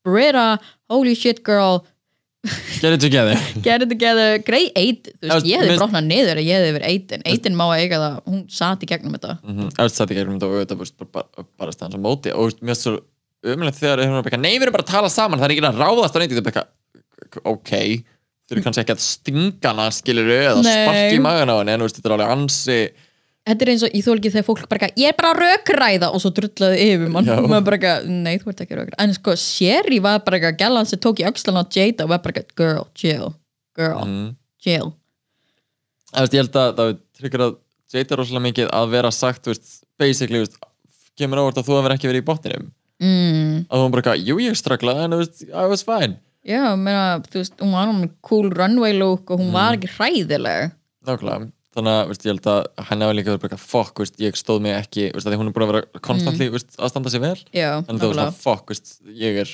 B: Britta, holy shit girl
C: get it together
B: get it together, grey 8 þú
C: Já,
B: veist, ég hefði
C: minnst-
B: brotnað niður að ég hefði verið 8 en 8 má að eiga það, hún sat í gegnum þetta
C: Mhm. Þú veist, þetta er um þetta og auðvitað þú veist, bara, bara, bara stans á móti og þú veist, mér er svo umlega þegar þeir eru að bekka nei, við erum bara að tala saman, það er ekki að ráðast á neitt þetta er bekka, ok þeir eru kannski ekki að stinga hana, skilur eða
B: Nei.
C: sparki í magan á henni, en þú veist, þetta er alveg ansi
B: þetta er eins og ég þól ekki þegar fólk bara eitthvað, ég er bara að rökræða og svo drullaði yfir mann
C: Já.
B: og maður bara eitthvað, nei þú ert ekki að rökræða en sko, Sherry var bara eitthvað, gælan sem tók í öxlan á Jada og var bara eitthvað, girl, chill girl,
C: mm.
B: chill
C: Þú veist, ég held að það tryggur að Jada rosalega mikið að vera sagt, þú veist, basically þú veist, kemur ávart að þú hefur ekki verið í botninum
B: mm.
C: að hún bara, eitthvað, jú, ég straklaði en þú veist, I was fine
B: já, meina, þú veist, hún var með cool runway look og hún
C: Mm.
B: var ekki hræðileg
C: Nákvæmlega, þannig að veist, ég held að henni hafi líka verið bara eitthvað, fokk, veist, ég stóð mig ekki veist, að því hún er búin að vera konstantli veist, að standa sér vel
B: já,
C: en
B: Mhm.
C: þú veist
B: nákvæmlega.
C: að fokk, veist, ég er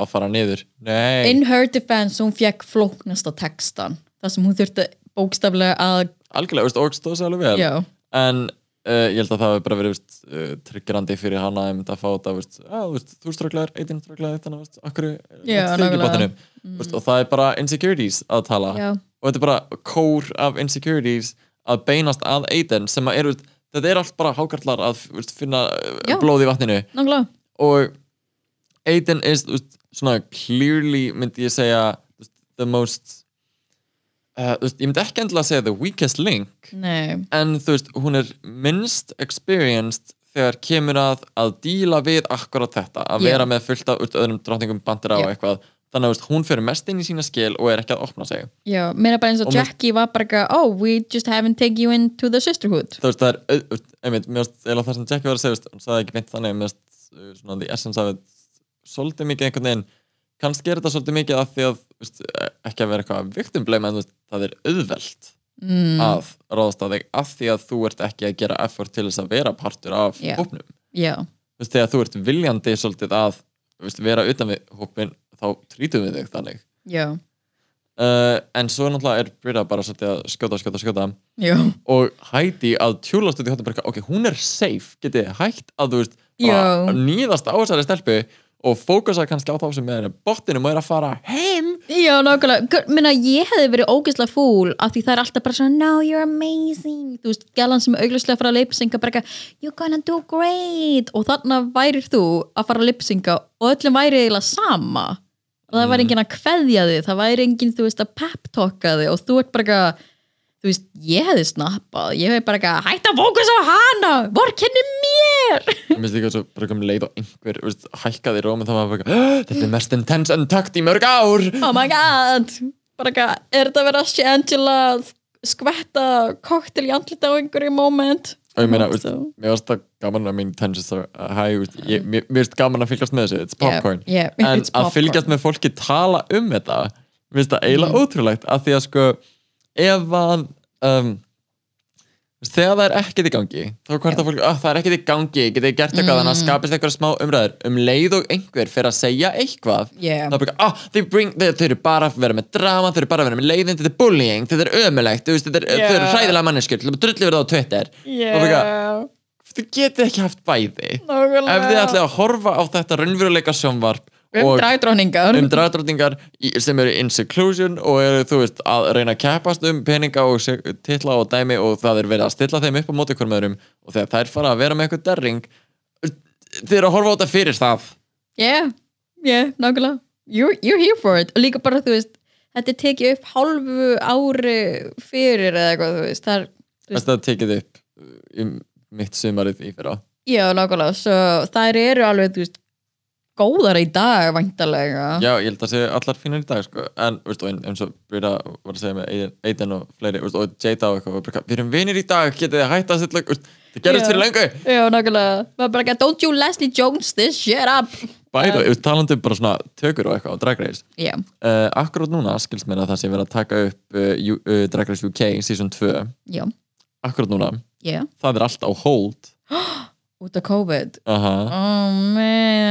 C: að fara niður Nei,
B: in her defense, hún fekk flóknasta textan, það sem hún þurfti bókstaflega að,
C: algjörlega, veist, og stóð sér alveg vel
B: já
C: en uh, ég held að það hafi bara verið veist, uh, tryggjurandi fyrir hana einmitt að fá þetta veist, að, veist, þú strögglar, eitinn strögglar þannig að veist, akkur
B: Já, nákvæmlega.
C: mm. veist, og það er bara insecurities að tala
B: Já.
C: og þetta er bara kór af insecurities að beinast að Aiden sem að er, veist, þetta er allt bara hákarlar að veist, finna Já.
B: Já.
C: blóð í vatninu
B: Nákvæmlega.
C: og Aiden is veist, svona clearly myndi ég segja veist, the most uh, veist, ég myndi ekki endilega segja the weakest link
B: Nei,
C: en þú veist, hún er minnst experienced þegar kemur að að díla við akkurat þetta
B: Já.
C: að vera með fullt af veist, öðrum drottningum bandir á
B: Já.
C: eitthvað þannig að veist, hún fyrir mest inn í sína skil og er ekki að opna sig
B: já, meina bara eins og
C: Og mér-
B: Jackie var bara eitthvað, oh, we just haven't taken you into the sisterhood
C: þú veist, það er, au- au- einmitt, mér veist, eða það sem Jackie var að segja, þú veist, hún sagði ekki meint þannig, mér veist, uh, svona, the essence af it, svolítið mikið einhvern veginn, kannski er þetta svolítið mikið af því að, þú veist, eh, ekki að vera eitthvað victim blame, en þú veist, það er auðvelt
B: mm,
C: að ráðast að þig af því að þú ert ekki að gera effort til þess að vera partur af
B: Já.
C: hópnum.
B: Já,
C: Þú veist, þegar þú ert viljandi svolítið að, þú veist, vera utan við hópin, þá trítum við þig þannig.
B: já,
C: Uh, en svo náttúrulega er Brita bara svolítið að skjóta, skjóta, skjóta
B: já
C: og Heidi að tjúlast út í hóttan bara ok, hún er safe, getið þið hægt að þú veist, bara
B: Já.
C: nýðast á þessari stelpu og fókusa kannski á þá sem er bottinum og er að fara heim
B: Já, nákvæmlega, Gu- minna ég hefði verið ógeðslega fúl af því það er alltaf bara svona no, you're amazing, þú veist, gælan sem er auglustlega að fara að lipsynga, bara eitthvað you're gonna do great, og þarna værir þú að fara að lipsynga og öllum væri eiginlega sama, og það væri enginn að kveðja þig, það væri enginn, þú veist, að pep-talka þig og þú ert bara eitthvað þú veist, ég hefði snappað, ég hefði bara eitthvað hætt að fókus á hana, vorkenni mér
C: Mér finnst líka svo bara kom leið og einhver veist, hækkaði róm en það var bara eitthvað, Þetta er mest intense en takt í mörg ár
B: oh my god bara eitthvað, er þetta að vera að sé Angela skvetta koktel í andlita á einhverju moment
C: Og ég meina, veist,
B: So-
C: mér finnst það gaman að mín tensions are high veist, ég, Mér mér finnst gaman að fylgjast með þessu, it's popcorn
D: yeah,
C: En
D: it's
C: að fylgjast með fólki tala um þetta mér finnst það eiginlega ótrúlegt að því að sko ef að um, þegar það er ekkert í gangi þá hvort að fólk, oh, það er ekkert í gangi getið þið gert eitthvað, þannig að skapist eitthvað smá umræður um leið og einhver fyrir að segja eitthvað
D: Yeah.
C: þá er bara, ah, þau bring, þau, þau eru bara að vera með drama, þau eru bara að vera með leiðin, þetta er bullying þetta er ömulegt, þau, þau, yeah. þau eru
D: Yeah.
C: hræðilega manneskjur til að drulli verða á Twitter Þá er bara,
D: yeah,
C: þau getið ekki haft bæði
D: nákvæmlega
C: ef þið ætlið að horfa á þetta raunveruleika sjónvarp
D: um
C: og-
D: dragdróningar
C: um dragdrottningar í- sem eru in seclusion og eru þú veist að reyna að keppast um peninga og se- titla og dæmi og það er verið að stilla þeim upp á móti hverjum öðrum og þegar þær fara að vera með eitthvað derring þeir eru að horfa á þetta fyrir það
B: yeah, yeah, nákvæmlega you're, you're here for it og líka bara þú veist þetta er tekið upp hálfu ári fyrir eða eitthvað þú veist það er Þú veist- Ah.
C: þess að tekið upp um mitt sumarið í fyrra
B: já, nákvæmlega, svo þær eru alveg þú veist, góðar í dag væntalega
C: já, ég held að segja allar fínar í dag sko. en veist, og ein- eins og Brita var að segja með Aiden og fleiri veist, og Jada og eitthvað og bara, við erum vinir í dag, getið þið hætt að stilla veist, það gerist
B: Já.
C: fyrir lengu
B: Já, nákvæmlega, maður bara ekki don't you Leslie Jones this shit up
C: bæði, um, talandi um bara svona tökur og eitthvað á Drag Race
B: Já,
C: uh, akkurát núna skilst mér að það sé verið að taka upp uh, U- uh, Drag Race UK season 2
B: já,
C: akkurát núna,
B: já,
C: það er allt á hold
B: út af COVID
C: Aha.
B: Oh man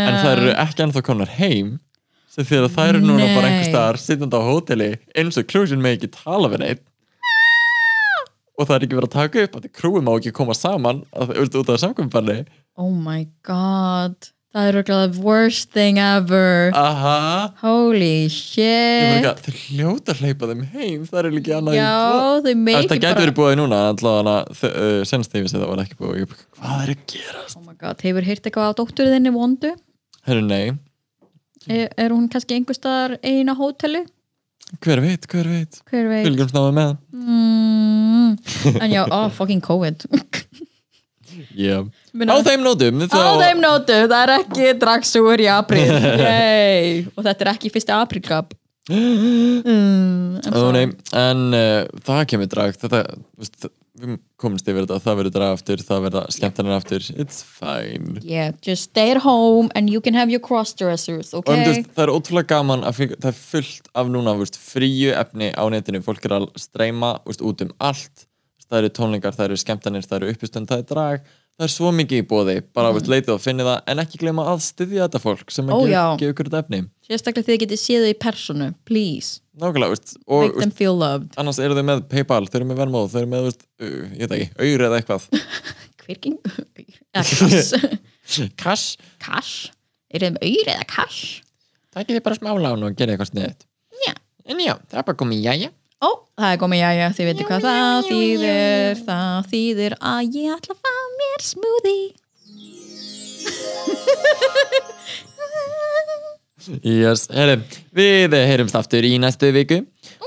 C: en það eru
B: Ah.
C: ekki ennþá komnar heim sem því að það eru núna bara
B: Nei.
C: einhver staðar sittandi á hóteli eins og klúsin með ekki tala við neitt og það er ekki verið að taka upp að því krúi má ekki koma saman að, út út af samkvæmbanni
B: Oh my god Það er örugglega the worst thing ever
C: aha
B: Holy
C: Ég meina
B: shit
C: hvað, þau hljóta að hleypa þeim heim það er ekki annað
B: Eh.
C: en tvo.
B: Já, þau meikir
C: þetta
B: bara
C: gæti verið búið núna allavega uh, senst yfir sem það var ekki búið Ég bara, hvað er að gerast
B: Oh my god, hefur heyrt eitthvað á dótturið þinni vondu
C: Mm. Herru, nei,
B: er, er hún kannski einhver staðar eina hóteli?
C: hver veit, hver veit
B: Hver veit
C: Fylgjumst náðu með
B: mm, En já, oh fucking COVID
C: yeah.
B: Minna-
C: Á þeim nótum þá...
B: Á þeim nótu, það er ekki dragsúr í apríl Yay. og þetta er ekki fyrsti aprílgap mm, I'm
C: Ó,
B: sorry.
C: nei, En uh, það kemur drag Þetta, veist, við komumst yfir þetta Það verður drag aftur, það verða skemmtanir aftur It's fine
B: yeah, just stay at home and you can have your crossdressers
C: Og um, þú
B: okay?
C: veist, það er ótrúlega gaman að fylg, það er fullt af núna þú veist, fríu efni á netinu, fólk er að streyma þú veist, út um allt, það eru tónlingar það eru skemmtanir, það eru uppustund, það er drag það er svo mikið í bóði, bara mm. leitið og finnið það, en ekki gleyma að styðja þetta fólk sem
B: Ó,
C: að
B: já.
C: gefa gef ykkur þetta efni
B: sérstaklega þið getið séð þau í personu please,
C: Nákvæmlega, veist, og
B: make them
C: veist,
B: feel loved
C: annars eru þau með Paypal, þau eru með Venmo, þau eru með, veist, uh, ég veit ekki, auður eða eitthvað.
B: hverking kass,
C: Kass,
B: kass er þeim auður eða kass
C: takið þið bara smá lán og gerið eitthvað sniðið.
B: Já.
C: En já, það er bara komið jæja.
B: ó, það er komið jæja, þið veitir hvað það þýðir það þýðir að ég ætla að fá mér smoothie
C: Yes, herri, við heyrumst aftur í næstu viku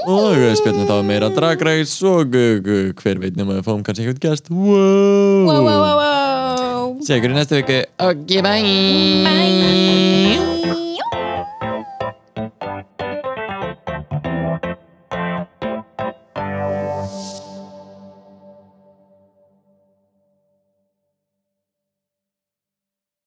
C: og við spjöldum þá meira dragræs og uh, uh, hver veit nema við fáum kannski eitthvað gæst. Wow!
B: wow, wow, wow, wow
C: Sér ykkur í næstu viku. Ok, bye!
B: Bye.